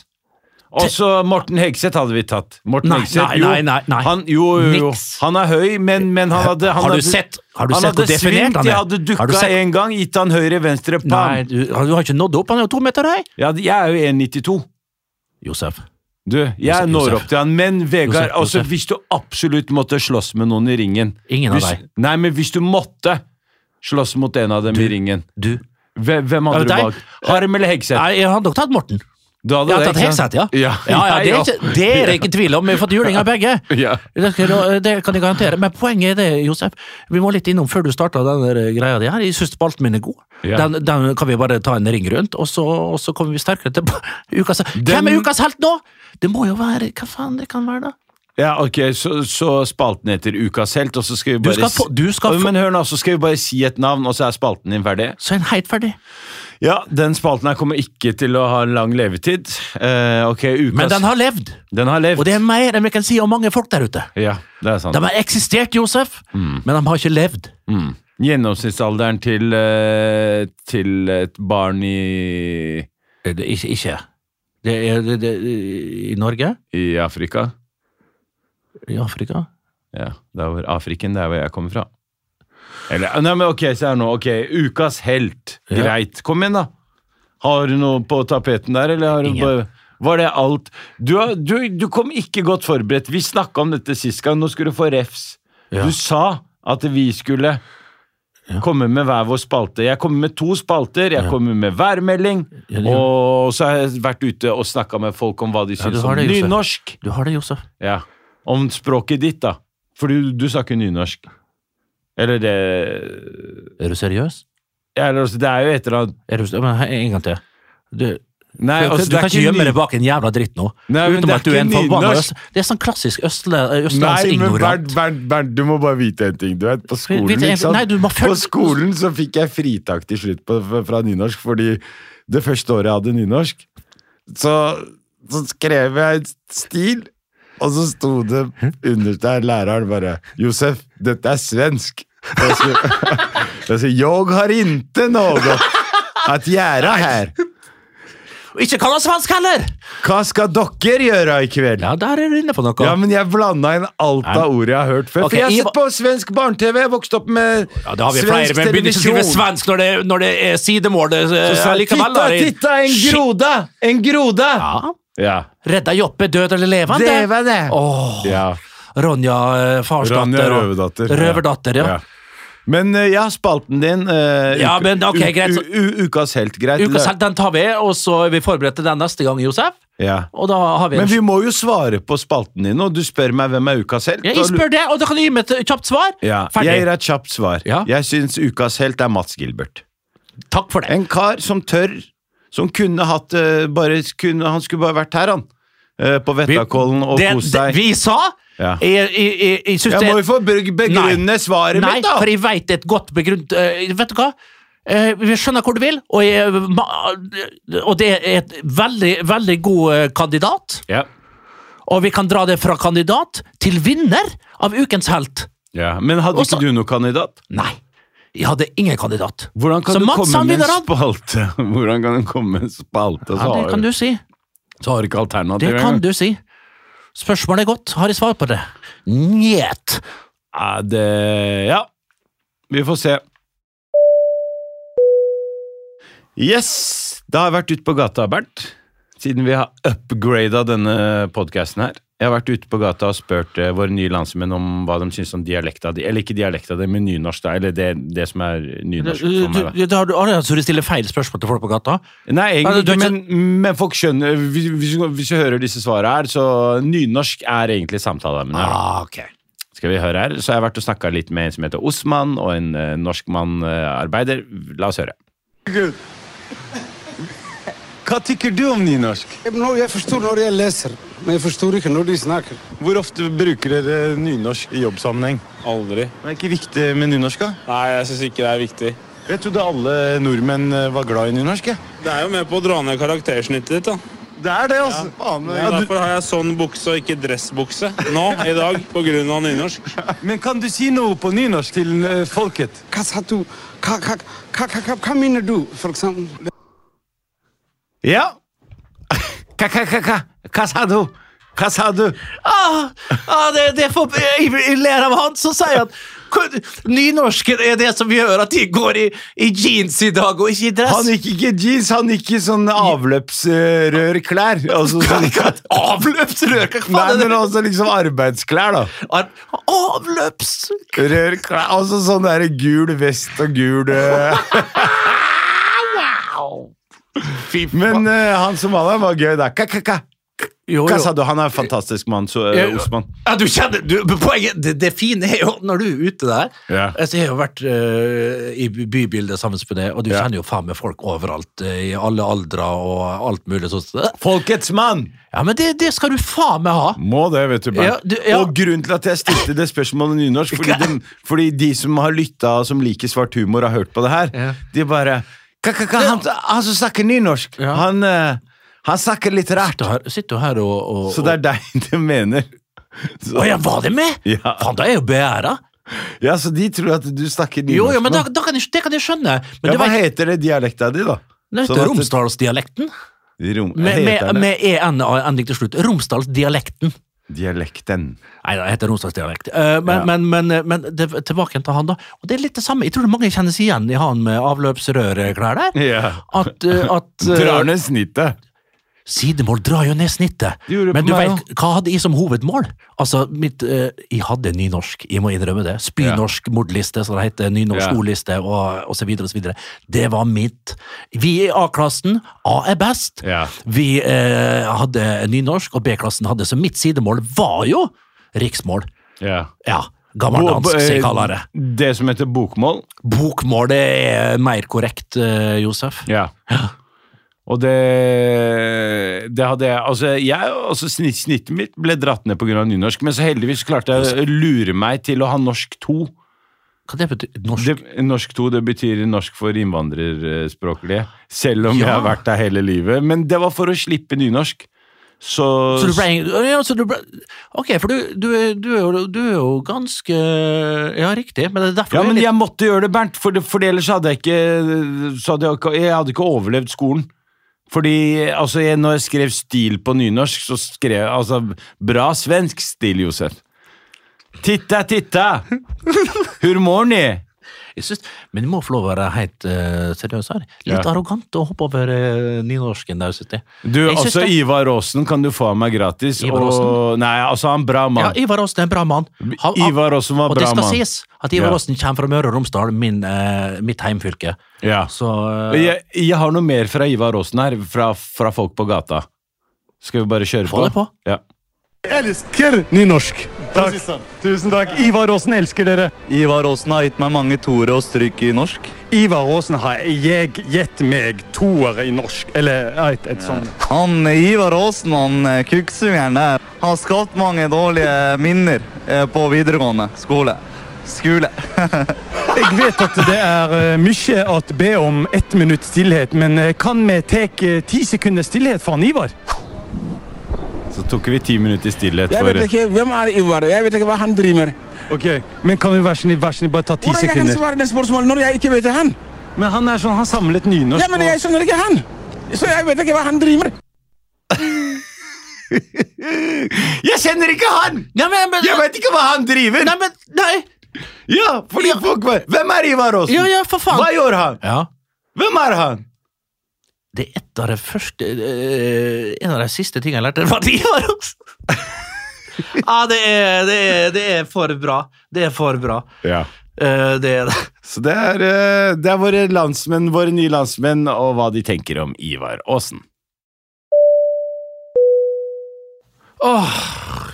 [SPEAKER 4] Og så Morten Hegseth hadde vi tatt. Morten
[SPEAKER 2] Nei,
[SPEAKER 4] Hegseth,
[SPEAKER 2] nei,
[SPEAKER 4] jo.
[SPEAKER 2] nei, nei, nei.
[SPEAKER 4] Han, jo, jo, jo.
[SPEAKER 2] Niks.
[SPEAKER 4] han er høy, men, men han hadde han
[SPEAKER 2] Har du
[SPEAKER 4] hadde,
[SPEAKER 2] sett- har du
[SPEAKER 4] han
[SPEAKER 2] sett hvor
[SPEAKER 4] hadde
[SPEAKER 2] definert han er?
[SPEAKER 4] Jeg hadde
[SPEAKER 2] Har du
[SPEAKER 4] dukka
[SPEAKER 2] sett-
[SPEAKER 4] én gang, gitt han høyre-venstre,
[SPEAKER 2] nei,
[SPEAKER 4] bam!
[SPEAKER 2] du, du har ikke nådd opp. Han er jo to meter høy!
[SPEAKER 4] Ja, jeg er jo 1,92.
[SPEAKER 2] Josef.
[SPEAKER 4] Du, jeg
[SPEAKER 2] Josef,
[SPEAKER 4] når
[SPEAKER 2] Josef.
[SPEAKER 4] opp til han, men Vegard,
[SPEAKER 2] Josef,
[SPEAKER 4] altså,
[SPEAKER 2] Josef.
[SPEAKER 4] hvis du absolutt måtte slåss med noen i ringen
[SPEAKER 2] Ingen av
[SPEAKER 4] hvis,
[SPEAKER 2] deg.
[SPEAKER 4] Nei, men hvis du måtte slåss mot en av dem i ringen,
[SPEAKER 2] Du.
[SPEAKER 4] hve- hvem
[SPEAKER 2] Ja,
[SPEAKER 4] hadde du
[SPEAKER 2] deg.
[SPEAKER 4] valgt? Harm eller Hegseth?
[SPEAKER 2] Nei, jeg hadde nok tatt Morten.
[SPEAKER 4] Du hadde
[SPEAKER 2] Jeg hadde
[SPEAKER 4] det,
[SPEAKER 2] tatt
[SPEAKER 4] ikke sant?
[SPEAKER 2] Hegseth, ja. Ja, ja, det, er ikke, det er det ikke tvil om. Vi har fått juling av begge.
[SPEAKER 4] Ja.
[SPEAKER 2] Det, skal- det kan jeg garantere. Men poenget er det, Josef. Vi må litt innom før du starta den der eh, greia di her. Jeg syns spalten min er god.
[SPEAKER 4] Ja.
[SPEAKER 2] Den, den kan vi bare ta en ring rundt, og så, og så kommer vi sterkere tilbake. Ukas, Hvem er ukas helt nå?! Det må jo være Hva faen det kan være, da?
[SPEAKER 4] Ja, ok, så, så spalten heter Ukas helt, og så skal vi
[SPEAKER 2] Du
[SPEAKER 4] bare
[SPEAKER 2] skal få, du skal
[SPEAKER 4] Oi,
[SPEAKER 2] få
[SPEAKER 4] Men hør nå, så skal vi bare si et navn, og så er spalten din ferdig.
[SPEAKER 2] Så er den helt ferdig.
[SPEAKER 4] Ja, den spalten her kommer ikke til å ha en lang levetid. Eh, ok, ukas
[SPEAKER 2] Men den har levd!
[SPEAKER 4] den har levd.
[SPEAKER 2] Og det er mer enn vi kan si om mange folk der ute.
[SPEAKER 4] Ja, det er sant. Mm,
[SPEAKER 2] De har eksistert, Josef, men de har ikke levd.
[SPEAKER 4] Gjennomsnittsalderen til, eh, til et barn i,
[SPEAKER 2] Eh, Det, ikke. ikke. Det er det, det, I Norge?
[SPEAKER 4] i Afrika.
[SPEAKER 2] I Afrika?
[SPEAKER 4] Ja, det er hvor Afriken, det er hvor jeg kommer fra. Eller, nei, men ok, se her nå. Ok, ukas helt.
[SPEAKER 2] Ja.
[SPEAKER 4] Greit. Kom igjen, da. Har du noe på tapeten der, eller har du
[SPEAKER 2] Ingen.
[SPEAKER 4] bare var det alt? Du, har- du, du kom ikke godt forberedt. Vi snakka om dette sist gang. Nå skulle du få refs.
[SPEAKER 2] Ja.
[SPEAKER 4] Du sa at vi skulle komme med hver vår spalte. Jeg kommer med to spalter. Jeg kommer med værmelding.
[SPEAKER 2] Ja, det gjør-
[SPEAKER 4] Og så har jeg vært ute og snakka med folk om hva de
[SPEAKER 2] du
[SPEAKER 4] syns
[SPEAKER 2] har
[SPEAKER 4] om
[SPEAKER 2] det, Josef.
[SPEAKER 4] nynorsk.
[SPEAKER 2] Du har det, Josef.
[SPEAKER 4] Ja. Om språket ditt, da. For du, du snakker nynorsk. Eller det
[SPEAKER 2] Er du seriøs?
[SPEAKER 4] Eller altså, det er jo et eller annet
[SPEAKER 2] Er du, men, he- en gang til. Du,
[SPEAKER 4] Nei,
[SPEAKER 2] du,
[SPEAKER 4] altså,
[SPEAKER 2] du
[SPEAKER 4] det er
[SPEAKER 2] kan ikke
[SPEAKER 4] ny-
[SPEAKER 2] gjemme deg bak en jævla dritt nå.
[SPEAKER 4] Nei, men
[SPEAKER 2] Utenom
[SPEAKER 4] det er
[SPEAKER 2] at du er en
[SPEAKER 4] ikke
[SPEAKER 2] forbanna
[SPEAKER 4] nynorsk.
[SPEAKER 2] øst... Det er sånn klassisk østle,
[SPEAKER 4] Nei, men Bernt,
[SPEAKER 2] østlandsignorant.
[SPEAKER 4] Bernt, Bernt, du må bare vite en ting. Du vet, på skolen,
[SPEAKER 2] Vite en-
[SPEAKER 4] ikke sant?
[SPEAKER 2] nei, du må følge-
[SPEAKER 4] På skolen så fikk jeg fritak til slutt på, fra- fra nynorsk, fordi det første året jeg hadde nynorsk, så, så skrev jeg et stil, og så sto det underst der læreren bare 'Josef, dette er svensk'. Og Jeg sier, jeg sier 'Jeg har inte noe at gjøre her'.
[SPEAKER 2] Og Ikke kall han svensk heller!
[SPEAKER 4] Hva skal dere gjøre i kveld?
[SPEAKER 2] Ja, der er du inne på noe.
[SPEAKER 4] Ja, men jeg blanda inn alt
[SPEAKER 2] Nei.
[SPEAKER 4] av ord jeg har hørt før.
[SPEAKER 2] Ok,
[SPEAKER 4] for jeg har
[SPEAKER 2] jeg
[SPEAKER 4] sett på svensk barne-TV, jeg vokste opp med
[SPEAKER 2] Ja, det har vi flere, men begynner ikke å skrive svensk når det, når det er eh, sidemål. Det,
[SPEAKER 4] Så sa jeg,
[SPEAKER 2] likevel,
[SPEAKER 4] titta, titta, en groda! En groda!
[SPEAKER 2] Ja.
[SPEAKER 4] Ja.
[SPEAKER 2] Redda Joppe, død eller levende?
[SPEAKER 4] Det var det.
[SPEAKER 2] Åh,
[SPEAKER 4] ja.
[SPEAKER 2] Ronja eh, farsdatter.
[SPEAKER 4] Ronja
[SPEAKER 2] og-
[SPEAKER 4] Røverdatter.
[SPEAKER 2] Røverdatter, ja.
[SPEAKER 4] Ja. Men eh, ja, spalten din eh,
[SPEAKER 2] Ja,
[SPEAKER 4] uke-
[SPEAKER 2] men ok,
[SPEAKER 4] u-
[SPEAKER 2] greit, så-
[SPEAKER 4] u- u- Ukas helt, greit.
[SPEAKER 2] Ukas helt, den tar vi, og så er vi forberedt til den neste gang, Josef.
[SPEAKER 4] Ja.
[SPEAKER 2] Og da har vi en
[SPEAKER 4] Men vi må jo svare på spalten din, og du spør meg hvem er ukas helt.
[SPEAKER 2] Ja,
[SPEAKER 4] og
[SPEAKER 2] jeg
[SPEAKER 4] lu-
[SPEAKER 2] spør det, og da kan du gi meg et kjapt svar.
[SPEAKER 4] ja,
[SPEAKER 2] Ferdig.
[SPEAKER 4] jeg gir et kjapt svar.
[SPEAKER 2] Ja.
[SPEAKER 4] Jeg syns ukas helt er Mats Gilbert.
[SPEAKER 2] Takk for det.
[SPEAKER 4] En kar som tør, som kunne hatt eh, bare kunne, Han skulle bare vært her, han. Eh, på Vettakollen og
[SPEAKER 2] det,
[SPEAKER 4] kost
[SPEAKER 2] det
[SPEAKER 4] seg.
[SPEAKER 2] vi sa
[SPEAKER 4] Ja.
[SPEAKER 2] Jeg, jeg, jeg, jeg syns
[SPEAKER 4] Jeg
[SPEAKER 2] det
[SPEAKER 4] må jo få brug- begrunne
[SPEAKER 2] Nei.
[SPEAKER 4] svaret
[SPEAKER 2] Nei,
[SPEAKER 4] mitt, da!
[SPEAKER 2] for jeg veit et godt begrunnet eh, Vet du hva? Eh, Vi skjønner hvor du vil, og, jeg, ma- og det er et veldig, veldig god eh, kandidat.
[SPEAKER 4] Ja.
[SPEAKER 2] Og vi kan dra det fra kandidat til vinner av ukens helt.
[SPEAKER 4] Ja, Men hadde
[SPEAKER 2] Også-
[SPEAKER 4] ikke du noen kandidat?
[SPEAKER 2] Nei, jeg hadde ingen kandidat.
[SPEAKER 4] Hvordan kan
[SPEAKER 2] Så
[SPEAKER 4] du
[SPEAKER 2] Mats,
[SPEAKER 4] komme
[SPEAKER 2] han
[SPEAKER 4] med
[SPEAKER 2] vinner
[SPEAKER 4] en
[SPEAKER 2] han.
[SPEAKER 4] spalte? Hvordan kan du komme med en spalte, så,
[SPEAKER 2] Ja, det
[SPEAKER 4] har,
[SPEAKER 2] kan du si.
[SPEAKER 4] så har du ikke alternativ
[SPEAKER 2] Det kan du si. Spørsmålet er godt. Har jeg svar på det? Njet.
[SPEAKER 4] Ja, det Ja. Vi får se. Yes! Da har jeg vært ute på gata, Bernt. Siden vi har upgrada denne podkasten her. Jeg har vært ute på gata og spurt eh, våre nye landsmenn om hva de syns om dialekta di. Eller ikke dialekta di, men nynorsk, da. Eller det, det som er nynorsk
[SPEAKER 2] Du,
[SPEAKER 4] for meg, da.
[SPEAKER 2] du, da har du, ah, ja, så du stiller feil spørsmål til folk på gata? Altså,
[SPEAKER 4] Nei, egentlig
[SPEAKER 2] du er
[SPEAKER 4] ikke,
[SPEAKER 2] ikke-
[SPEAKER 4] men, men folk skjønner hvis, hvis, hvis jeg hører disse svarene her, så nynorsk er egentlig samtaleemnet. her, da.
[SPEAKER 2] Ah, ok.
[SPEAKER 4] Skal vi høre her? Så jeg har vært og snakka litt med en som heter Osman, og en eh, norsk mann eh, arbeider. La oss høre.
[SPEAKER 10] Hva tykker du om nynorsk?
[SPEAKER 7] Jeg forstår når jeg leser, men jeg forstår ikke når de snakker.
[SPEAKER 10] Hvor ofte bruker dere nynorsk i jobbsammenheng?
[SPEAKER 11] Aldri.
[SPEAKER 10] Det er ikke viktig med nynorsk, da.
[SPEAKER 11] Nei, jeg syns ikke det er viktig.
[SPEAKER 10] Jeg trodde alle nordmenn eh, var glad i nynorsk. jeg.
[SPEAKER 11] Det er jo med på å dra ned karaktersnittet ditt, da.
[SPEAKER 10] Det er det, altså. Faen,
[SPEAKER 11] Ja,
[SPEAKER 10] kan du,
[SPEAKER 11] derfor har jeg sånn bukse og ikke dressbukse nå i dag på grunn av nynorsk.
[SPEAKER 10] men kan du si noe på nynorsk til eh, folket?
[SPEAKER 7] Hva sa du? Hva, hva, hva, hva, hva, hva mener du, for eksempel?
[SPEAKER 4] Ja! Ka-ka-ka-ka! Hva sa du? Hva sa du?
[SPEAKER 2] Ah, ah, det, det får, jeg, jeg ler av han som sier at kun- nynorsken er det som gjør at de går i, i jeans i dag, og ikke i dress.
[SPEAKER 4] Han gikk ikke i jeans, han gikk i sånne avløpsrørklær. Altså, sånn,
[SPEAKER 2] Avløpsrør! Hva
[SPEAKER 4] nei,
[SPEAKER 2] faen er
[SPEAKER 4] men
[SPEAKER 2] det?
[SPEAKER 4] altså liksom arbeidsklær, da.
[SPEAKER 2] Ar- Avløps...
[SPEAKER 4] Rørklær, altså sånn der gul vest og gul eh.
[SPEAKER 2] Fy faen.
[SPEAKER 4] Men eh, han somalieren var gøy, da. Ka-ka-ka!
[SPEAKER 2] Jo,
[SPEAKER 4] Hva
[SPEAKER 2] jo.
[SPEAKER 4] sa du? Han er en fantastisk mann, så, eh,
[SPEAKER 2] Jeg-
[SPEAKER 4] Osman.
[SPEAKER 2] Ja, du kjenner, du, men poenget, det, det fine er jo når du er ute der
[SPEAKER 4] Ja.
[SPEAKER 2] altså, Jeg har jo vært eh, i by- bybildet sammen med deg, og du
[SPEAKER 4] Ja.
[SPEAKER 2] kjenner jo faen meg folk overalt. eh, I alle aldre og alt mulig sånt. Ja,
[SPEAKER 4] Folkets mann!
[SPEAKER 2] men det, det skal du faen meg ha!
[SPEAKER 4] Må det, vet du, Bernt.
[SPEAKER 2] Ja, du- ja.
[SPEAKER 4] Og grunnen til at jeg stilte det spørsmålet nynorsk, fordi, den, fordi de som har lytta og som liker svart humor, har hørt på det her,
[SPEAKER 2] Ja.
[SPEAKER 4] de bare «Hva, hva, hva, han, han som snakker nynorsk,
[SPEAKER 2] Ja.
[SPEAKER 4] han, eh, han snakker litt rart.
[SPEAKER 2] Sitter her, sitter jo her og, og,
[SPEAKER 4] Så det er deg de mener.
[SPEAKER 2] og Å, jeg var det med?!
[SPEAKER 4] Ja.
[SPEAKER 2] Faen, da er jeg jo beæra!
[SPEAKER 4] Ja, så de tror at du snakker nynorsk.
[SPEAKER 2] Jo, jo, men da,
[SPEAKER 4] nå.
[SPEAKER 2] da kan jeg, det kan jeg skjønne. Men
[SPEAKER 4] ja,
[SPEAKER 2] det
[SPEAKER 4] hva
[SPEAKER 2] var ikke
[SPEAKER 4] heter det dialekta di, da?
[SPEAKER 2] dette
[SPEAKER 4] Sånn at det-
[SPEAKER 2] Romsdalsdialekten.
[SPEAKER 4] Rom,
[SPEAKER 2] Med,
[SPEAKER 4] heter
[SPEAKER 2] med,
[SPEAKER 4] det?
[SPEAKER 2] med E EN-ending til slutt. Romsdalsdialekten.
[SPEAKER 4] Dialekten.
[SPEAKER 2] Nei, det heter romsdalsdialekt. Eh, men,
[SPEAKER 4] Ja.
[SPEAKER 2] men, men, men det, tilbake igjen til han, da. Og det er litt det samme. Jeg tror det mange kjenner seg igjen i han med avløpsrørklær der.
[SPEAKER 4] Ja.
[SPEAKER 2] At, eh, at eh,
[SPEAKER 4] Drar ned snittet.
[SPEAKER 2] Sidemål drar jo ned snittet.
[SPEAKER 4] Det gjorde det
[SPEAKER 2] Men
[SPEAKER 4] på
[SPEAKER 2] du
[SPEAKER 4] meg
[SPEAKER 2] vet, hva hadde jeg som hovedmål? Altså, mitt, eh, Jeg hadde nynorsk, jeg må innrømme det. Spynorsk mordliste, som det heter. Nynorsk
[SPEAKER 4] Ja.
[SPEAKER 2] ordliste, og, og så videre og så videre. Det var mitt. Vi i A-klassen, A er best.
[SPEAKER 4] Ja.
[SPEAKER 2] Vi eh, hadde nynorsk, og B-klassen hadde, så mitt sidemål var jo riksmål.
[SPEAKER 4] Ja.
[SPEAKER 2] Ja. Gammeldansk,
[SPEAKER 4] Bo-
[SPEAKER 2] som jeg
[SPEAKER 4] eh,
[SPEAKER 2] kaller det.
[SPEAKER 4] Det som heter bokmål.
[SPEAKER 2] Bokmål det er mer korrekt, eh, Josef.
[SPEAKER 4] Ja. Og det, det hadde jeg Altså, jeg, altså snitt, snittet mitt ble dratt ned pga. nynorsk, men så heldigvis klarte jeg å lure meg til å ha norsk 2.
[SPEAKER 2] Hva det betyr norsk?
[SPEAKER 4] Det, norsk 2 det betyr norsk for innvandrerspråklige, selv om jeg
[SPEAKER 2] Ja.
[SPEAKER 4] har vært der hele livet. Men det var for å slippe nynorsk. Så,
[SPEAKER 2] Så du ble, ja, så du ble, ok, for du, du, er- du, er jo, du er jo ganske Ja, riktig, men det er derfor
[SPEAKER 4] Ja,
[SPEAKER 2] du er
[SPEAKER 4] men
[SPEAKER 2] litt,
[SPEAKER 4] jeg måtte gjøre det, Bernt, for, det- for ellers hadde jeg ikke, så hadde jeg, ikke- jeg hadde ikke overlevd skolen. Fordi altså, jeg, når jeg skrev stil på nynorsk, så skrev jeg altså, bra svensk stil, Josef. Titta, titta! Hur mår ni?
[SPEAKER 2] jeg synes, Men du må få lov å være helt eh, seriøs her. Litt
[SPEAKER 4] Ja.
[SPEAKER 2] arrogant å hoppe over eh, nynorsken der, synes jeg.
[SPEAKER 4] Du,
[SPEAKER 2] Jeg synes
[SPEAKER 4] altså
[SPEAKER 2] det.
[SPEAKER 4] Ivar Aasen kan du få av meg gratis.
[SPEAKER 2] Ivar
[SPEAKER 4] og, nei, altså han bra
[SPEAKER 2] Ja,
[SPEAKER 4] mann.
[SPEAKER 2] Ivar Aasen er en bra mann. Han- han-
[SPEAKER 4] Ivar Aasen var
[SPEAKER 2] og det
[SPEAKER 4] bra
[SPEAKER 2] skal
[SPEAKER 4] mann.
[SPEAKER 2] sies at Ivar
[SPEAKER 4] Ja.
[SPEAKER 2] Aasen kommer fra Møre og Romsdal, min, eh, mitt heimfylke.
[SPEAKER 4] Ja.
[SPEAKER 2] Så
[SPEAKER 4] Og
[SPEAKER 2] eh,
[SPEAKER 4] Jeg, jeg har noe mer fra Ivar Aasen her, fra, fra folk på gata. Skal vi bare kjøre
[SPEAKER 2] få det på.
[SPEAKER 4] Ja.
[SPEAKER 10] Elsker nynorsk. Takk. Tusen takk. Ivar Aasen elsker dere.
[SPEAKER 7] Ivar Aasen har gitt meg mange toere og stryk i norsk.
[SPEAKER 10] Ivar Aasen har jeg gitt meg toere i norsk. Eller et, et sånt.
[SPEAKER 7] Han Ivar Aasen, han eh, kukksugeren der, har skapt mange dårlige minner eh, på videregående skole. Skole.
[SPEAKER 10] Jeg vet at det er eh, mye å be om ett minutt stillhet, men eh, kan vi ta ti sekunder stillhet for han Ivar?
[SPEAKER 4] Så tok vi ti minutter i stillhet
[SPEAKER 11] Jeg
[SPEAKER 4] for
[SPEAKER 11] vet ikke hvem er Ivar. Jeg vet ikke hva han driver med.
[SPEAKER 10] Ok, Men kan vi vær så snill, vær så snill bare ta ti
[SPEAKER 11] Hvordan jeg kan
[SPEAKER 10] sekunder?
[SPEAKER 11] svare det spørsmålet når jeg ikke vet det han?
[SPEAKER 10] Men han er sånn, han samlet nynorsk
[SPEAKER 11] Ja, men jeg skjønner ikke han. Så jeg vet ikke hva han driver med.
[SPEAKER 4] Jeg kjenner ikke han!
[SPEAKER 2] Nei, men, men,
[SPEAKER 4] Jeg vet ikke hva han driver!
[SPEAKER 2] nei, men, nei.
[SPEAKER 4] Ja, fordi folk bare Hvem er Ivar Aasen?
[SPEAKER 2] Ja, ja, for faen.
[SPEAKER 4] Hva gjør han?
[SPEAKER 2] Ja.
[SPEAKER 4] Hvem er han?
[SPEAKER 2] Det er et av de første eh, En av de siste tingene jeg lærte, var at Ivar Aasen Ja, det er, det, er, det er for bra. Det er for bra.
[SPEAKER 4] Ja.
[SPEAKER 2] Eh, det er det.
[SPEAKER 4] Så det er, eh, det er våre landsmenn, våre nye landsmenn, og hva de tenker om Ivar Aasen.
[SPEAKER 2] Åh,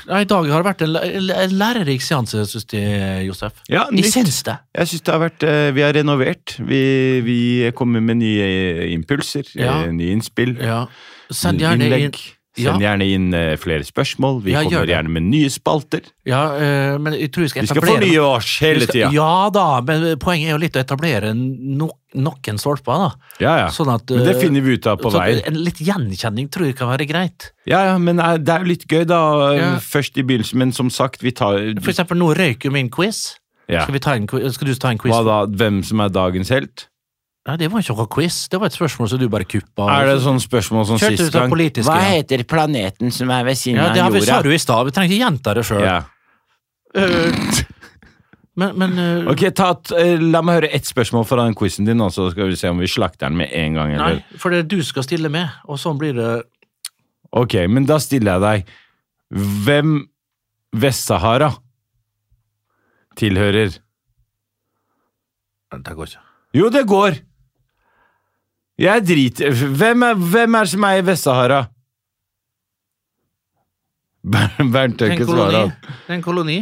[SPEAKER 2] nei, I dag har det vært en, læ- en lærerik seanse, syns jeg, Josef.
[SPEAKER 4] Ja,
[SPEAKER 2] Jeg
[SPEAKER 4] nytt.
[SPEAKER 2] syns det.
[SPEAKER 4] Jeg synes det har vært eh, Vi har renovert. Vi, vi kommer med nye eh, impulser,
[SPEAKER 2] Ja.
[SPEAKER 4] eh, nye innspill,
[SPEAKER 2] Ja. Send
[SPEAKER 4] nye
[SPEAKER 2] gjerne inn
[SPEAKER 4] innlegg. Send
[SPEAKER 2] ja,
[SPEAKER 4] gjerne inn eh, flere spørsmål. Vi
[SPEAKER 2] Ja, gjør
[SPEAKER 4] kommer
[SPEAKER 2] det.
[SPEAKER 4] gjerne med nye spalter.
[SPEAKER 2] ja, eh, men jeg tror jeg skal
[SPEAKER 4] Vi skal
[SPEAKER 2] etablere
[SPEAKER 4] fornye oss hele
[SPEAKER 2] Vi skal-
[SPEAKER 4] tida. Ja,
[SPEAKER 2] Ja da, men poenget er jo litt å etablere no, noen stolper, da.
[SPEAKER 4] ja.
[SPEAKER 2] Sånn at,
[SPEAKER 4] Men det
[SPEAKER 2] eh,
[SPEAKER 4] finner vi ut av på
[SPEAKER 2] Så
[SPEAKER 4] veien.
[SPEAKER 2] En litt gjenkjenning tror jeg kan være greit.
[SPEAKER 4] Ja, ja, men eh, det er jo litt gøy, da. eh,
[SPEAKER 2] Ja.
[SPEAKER 4] Først i begynnelsen, men som sagt, vi tar
[SPEAKER 2] For eksempel, nå røyker jo min quiz.
[SPEAKER 4] ja.
[SPEAKER 2] Skal, vi ta en, qui- skal du ta en quiz?
[SPEAKER 4] Hva da? Hvem som er dagens helt?
[SPEAKER 2] Nei, det var ikke noe quiz. Det var et spørsmål som du bare kuppa.
[SPEAKER 4] Er det sånne spørsmål som
[SPEAKER 2] Kjørte
[SPEAKER 4] sist
[SPEAKER 2] ut av
[SPEAKER 4] gang?
[SPEAKER 2] politiske.
[SPEAKER 5] Hva
[SPEAKER 2] ja.
[SPEAKER 5] heter planeten som er ved siden
[SPEAKER 2] Ja, det har
[SPEAKER 5] av
[SPEAKER 2] vi, sa
[SPEAKER 5] jorda?
[SPEAKER 2] du i stad. Vi trenger ikke gjenta det sjøl.
[SPEAKER 4] Ja.
[SPEAKER 2] Men, men eh,
[SPEAKER 4] Ok, ta, et- eh, La meg høre ett spørsmål fra den quizen din, og så skal vi se om vi slakter den med en gang. Eller?
[SPEAKER 2] Nei, for det er du skal stille med, og sånn blir det
[SPEAKER 4] Ok, men da stiller jeg deg. Hvem Vest-Sahara tilhører?
[SPEAKER 2] Det går ikke.
[SPEAKER 4] Jo, det går! Jeg driter Hvem er, hvem er det som er i Vest-Sahara? Ber-
[SPEAKER 2] Det
[SPEAKER 4] Bernt
[SPEAKER 2] er
[SPEAKER 4] tør
[SPEAKER 2] en
[SPEAKER 4] ikke
[SPEAKER 2] koloni.
[SPEAKER 4] svare. han.
[SPEAKER 2] Det er en koloni.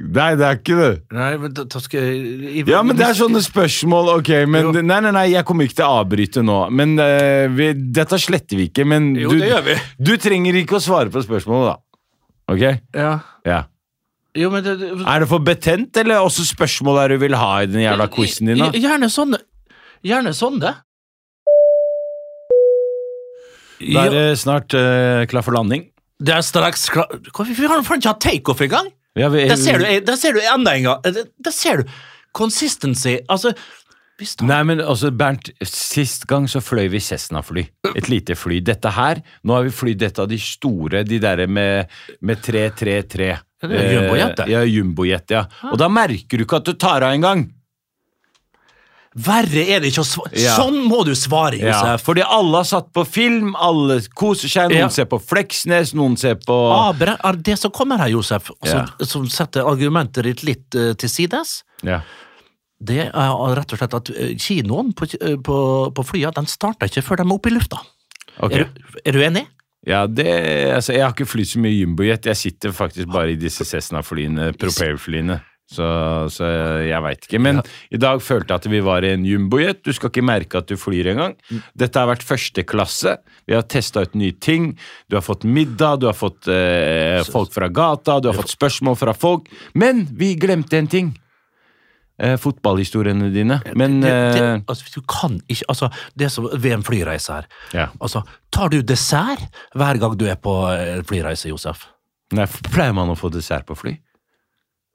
[SPEAKER 4] Nei, det er ikke det.
[SPEAKER 2] Nei, men da, da skal jeg
[SPEAKER 4] Ja, men det er sånn- sånne spørsmål, ok. Men,
[SPEAKER 2] Jo.
[SPEAKER 4] nei, nei, nei, jeg kommer ikke til å avbryte nå. Men eh, vi, Dette sletter vi ikke, men
[SPEAKER 2] Jo,
[SPEAKER 4] du,
[SPEAKER 2] det gjør vi.
[SPEAKER 4] du trenger ikke å svare på spørsmålet, da. Ok?
[SPEAKER 2] Ja.
[SPEAKER 4] Ja.
[SPEAKER 2] Jo, men det, det,
[SPEAKER 4] Er det for betent, eller også spørsmål er du vil ha i den jævla quizen din?
[SPEAKER 2] Gj-
[SPEAKER 4] da?
[SPEAKER 2] Gjerne sånne. Gjerne sånne.
[SPEAKER 4] Da
[SPEAKER 2] Ja,
[SPEAKER 4] er det snart eh, klar for landing.
[SPEAKER 2] det er straks klar... Hvorfor vi har faen ikke hatt takeoff engang?
[SPEAKER 4] Ja, vi,
[SPEAKER 2] Der ser du, der ser du enda en gang. Der, der ser du. Consistency. Altså vi starter-
[SPEAKER 4] Nei, men altså, Bernt, sist gang så fløy vi Cessna-fly. Et lite fly. Dette her, nå har vi flydd et av de store, de derre med, med 333.
[SPEAKER 2] Ja, det er jumbojet, det.
[SPEAKER 4] Eh, Ja, jumbojet, ja. Og da merker du ikke at du tar av engang.
[SPEAKER 2] Verre er det ikke å svare.
[SPEAKER 4] Ja.
[SPEAKER 2] Sånn må du svare,
[SPEAKER 4] Ja,
[SPEAKER 2] Josef.
[SPEAKER 4] fordi alle har satt på film, alle koser seg. Noen
[SPEAKER 2] Ja.
[SPEAKER 4] ser på Fleksnes, noen ser på
[SPEAKER 2] Abra Ah, er det som kommer her, Josef, og som,
[SPEAKER 4] Ja.
[SPEAKER 2] som setter argumentet ditt litt eh, til sides.
[SPEAKER 4] ja.
[SPEAKER 2] Det er rett og slett at eh, kinoen på, eh, på, på flyet, den starter ikke før de er oppe i lufta.
[SPEAKER 4] ok.
[SPEAKER 2] Er, du, er du enig?
[SPEAKER 4] Ja, det, altså, jeg har ikke flytt så mye jumbojet. Jeg sitter faktisk bare i disse Cessna-flyene, propellflyene. Så, så jeg veit ikke. Men i dag følte jeg at vi var i en jumbojet. Du skal ikke merke at du flyr engang.
[SPEAKER 2] Mm.
[SPEAKER 4] Dette har vært første klasse. Vi har testa ut nye ting. Du har fått middag, du har fått eh, folk fra gata, du har fått spørsmål fra folk. Men vi glemte en ting. Eh, fotballhistoriene dine. Men
[SPEAKER 2] Det, det,
[SPEAKER 4] eh,
[SPEAKER 2] altså, du kan ikke altså, Det er som ved en flyreise her.
[SPEAKER 4] Ja.
[SPEAKER 2] Altså, tar du dessert hver gang du er på eh, flyreise, Josef?
[SPEAKER 4] Nei, pleier man å få dessert på fly?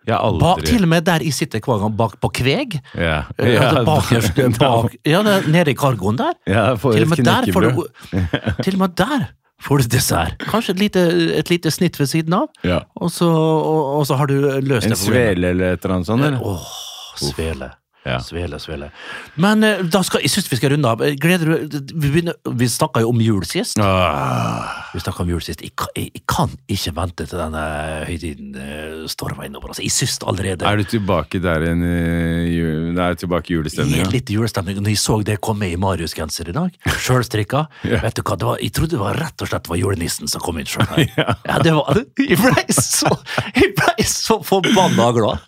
[SPEAKER 4] Jeg har
[SPEAKER 2] Ba,
[SPEAKER 4] aldri
[SPEAKER 2] til og med der jeg sitter hver gang, bak på kveg.
[SPEAKER 4] Ja.
[SPEAKER 2] eh, altså, bakerst, eh, bak, ja, det er nede i kargoen der.
[SPEAKER 4] Ja, får
[SPEAKER 2] Til og
[SPEAKER 4] et
[SPEAKER 2] med der får du
[SPEAKER 4] knekkebrød.
[SPEAKER 2] Til og med der får du dessert. Kanskje et lite, et lite snitt ved siden av,
[SPEAKER 4] Ja.
[SPEAKER 2] og så, og, og så har du løst
[SPEAKER 4] En
[SPEAKER 2] det problemet.
[SPEAKER 4] svele eller et eller annet sånt? Eller?
[SPEAKER 2] Åh, svele.
[SPEAKER 4] Ja.
[SPEAKER 2] Eh, Svele, svele. Men eh, da skal, jeg synes vi skal runde av. Eh, Gleder du Vi, begynner, vi snakka jo om jul sist.
[SPEAKER 4] Ah,
[SPEAKER 2] Vi snakket om jul sist. Jeg, kan- jeg, jeg kan ikke vente til denne høytiden eh, stormer innover. Altså, jeg synes det allerede
[SPEAKER 4] Er du tilbake der igjen i jul... Nei, tilbake i
[SPEAKER 2] Gi
[SPEAKER 4] julestemninga?
[SPEAKER 2] litt julestemning. Når jeg så det komme i Marius-genser i dag, sjølstrikka Vet du hva, det var, jeg trodde det var rett og slett var julenissen som kom inn sjøl. Ja. det var Jeg blei så, jeg ble så forbanna glad.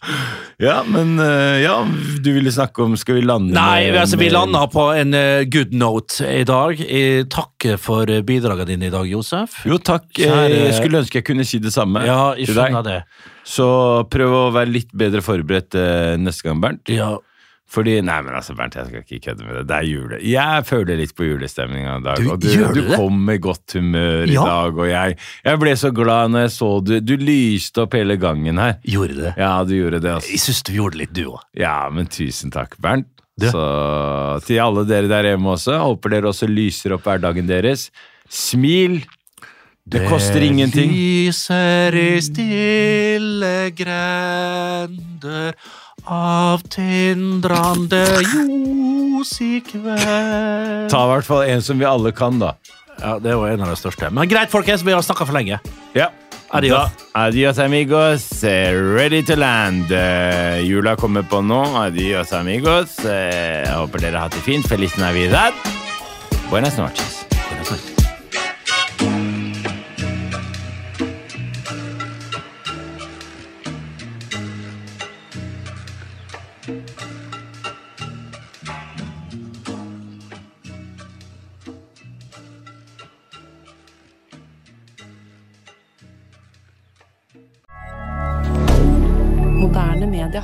[SPEAKER 4] Ja, men eh, ja, du ville snakke om Skal vi lande
[SPEAKER 2] Nei,
[SPEAKER 4] med-
[SPEAKER 2] altså, vi
[SPEAKER 4] med-
[SPEAKER 2] landa på en eh, good note i dag. Jeg takker for eh, bidragene dine i dag, Josef.
[SPEAKER 4] Jo, takk. Eh,
[SPEAKER 2] Kjære-
[SPEAKER 4] Jeg skulle ønske jeg kunne si det samme
[SPEAKER 2] Ja, jeg
[SPEAKER 4] til deg.
[SPEAKER 2] skjønner det.
[SPEAKER 4] Så prøv å være litt bedre forberedt eh, neste gang, Bernt.
[SPEAKER 2] Ja,
[SPEAKER 4] Fordi Nei, men altså, Bernt, jeg skal ikke kødde med det. Det er jule. Jeg føler litt på julestemninga i dag.
[SPEAKER 2] Du-
[SPEAKER 4] og du,
[SPEAKER 2] gjør
[SPEAKER 4] du
[SPEAKER 2] du det?
[SPEAKER 4] kom med godt humør i
[SPEAKER 2] Ja.
[SPEAKER 4] dag, og jeg, jeg ble så glad når jeg så du Du lyste opp hele gangen her.
[SPEAKER 2] gjorde det.
[SPEAKER 4] Ja, du gjorde det, altså.
[SPEAKER 2] Jeg syns du gjorde det litt, du òg.
[SPEAKER 4] Ja, men tusen takk, Bernt.
[SPEAKER 2] Du.
[SPEAKER 4] Så til alle dere der hjemme også, håper dere også lyser opp hverdagen deres. Smil! Det koster ingenting.
[SPEAKER 2] lyser i stille grender av tindrande ljos i kveld.
[SPEAKER 4] Ta i hvert fall en som vi alle kan, da.
[SPEAKER 2] Ja, det var en av de største. Men greit, folkens, vi har snakka for lenge.
[SPEAKER 4] Ja.
[SPEAKER 2] Adios.
[SPEAKER 1] Adios, amigos. Eh, Ready to land. Eh, Jula kommer på nå. Adios, amigos. Eh, Jeg håper dere har hatt det fint. Feliz Navidad. Buenas noches.
[SPEAKER 12] Moderne media.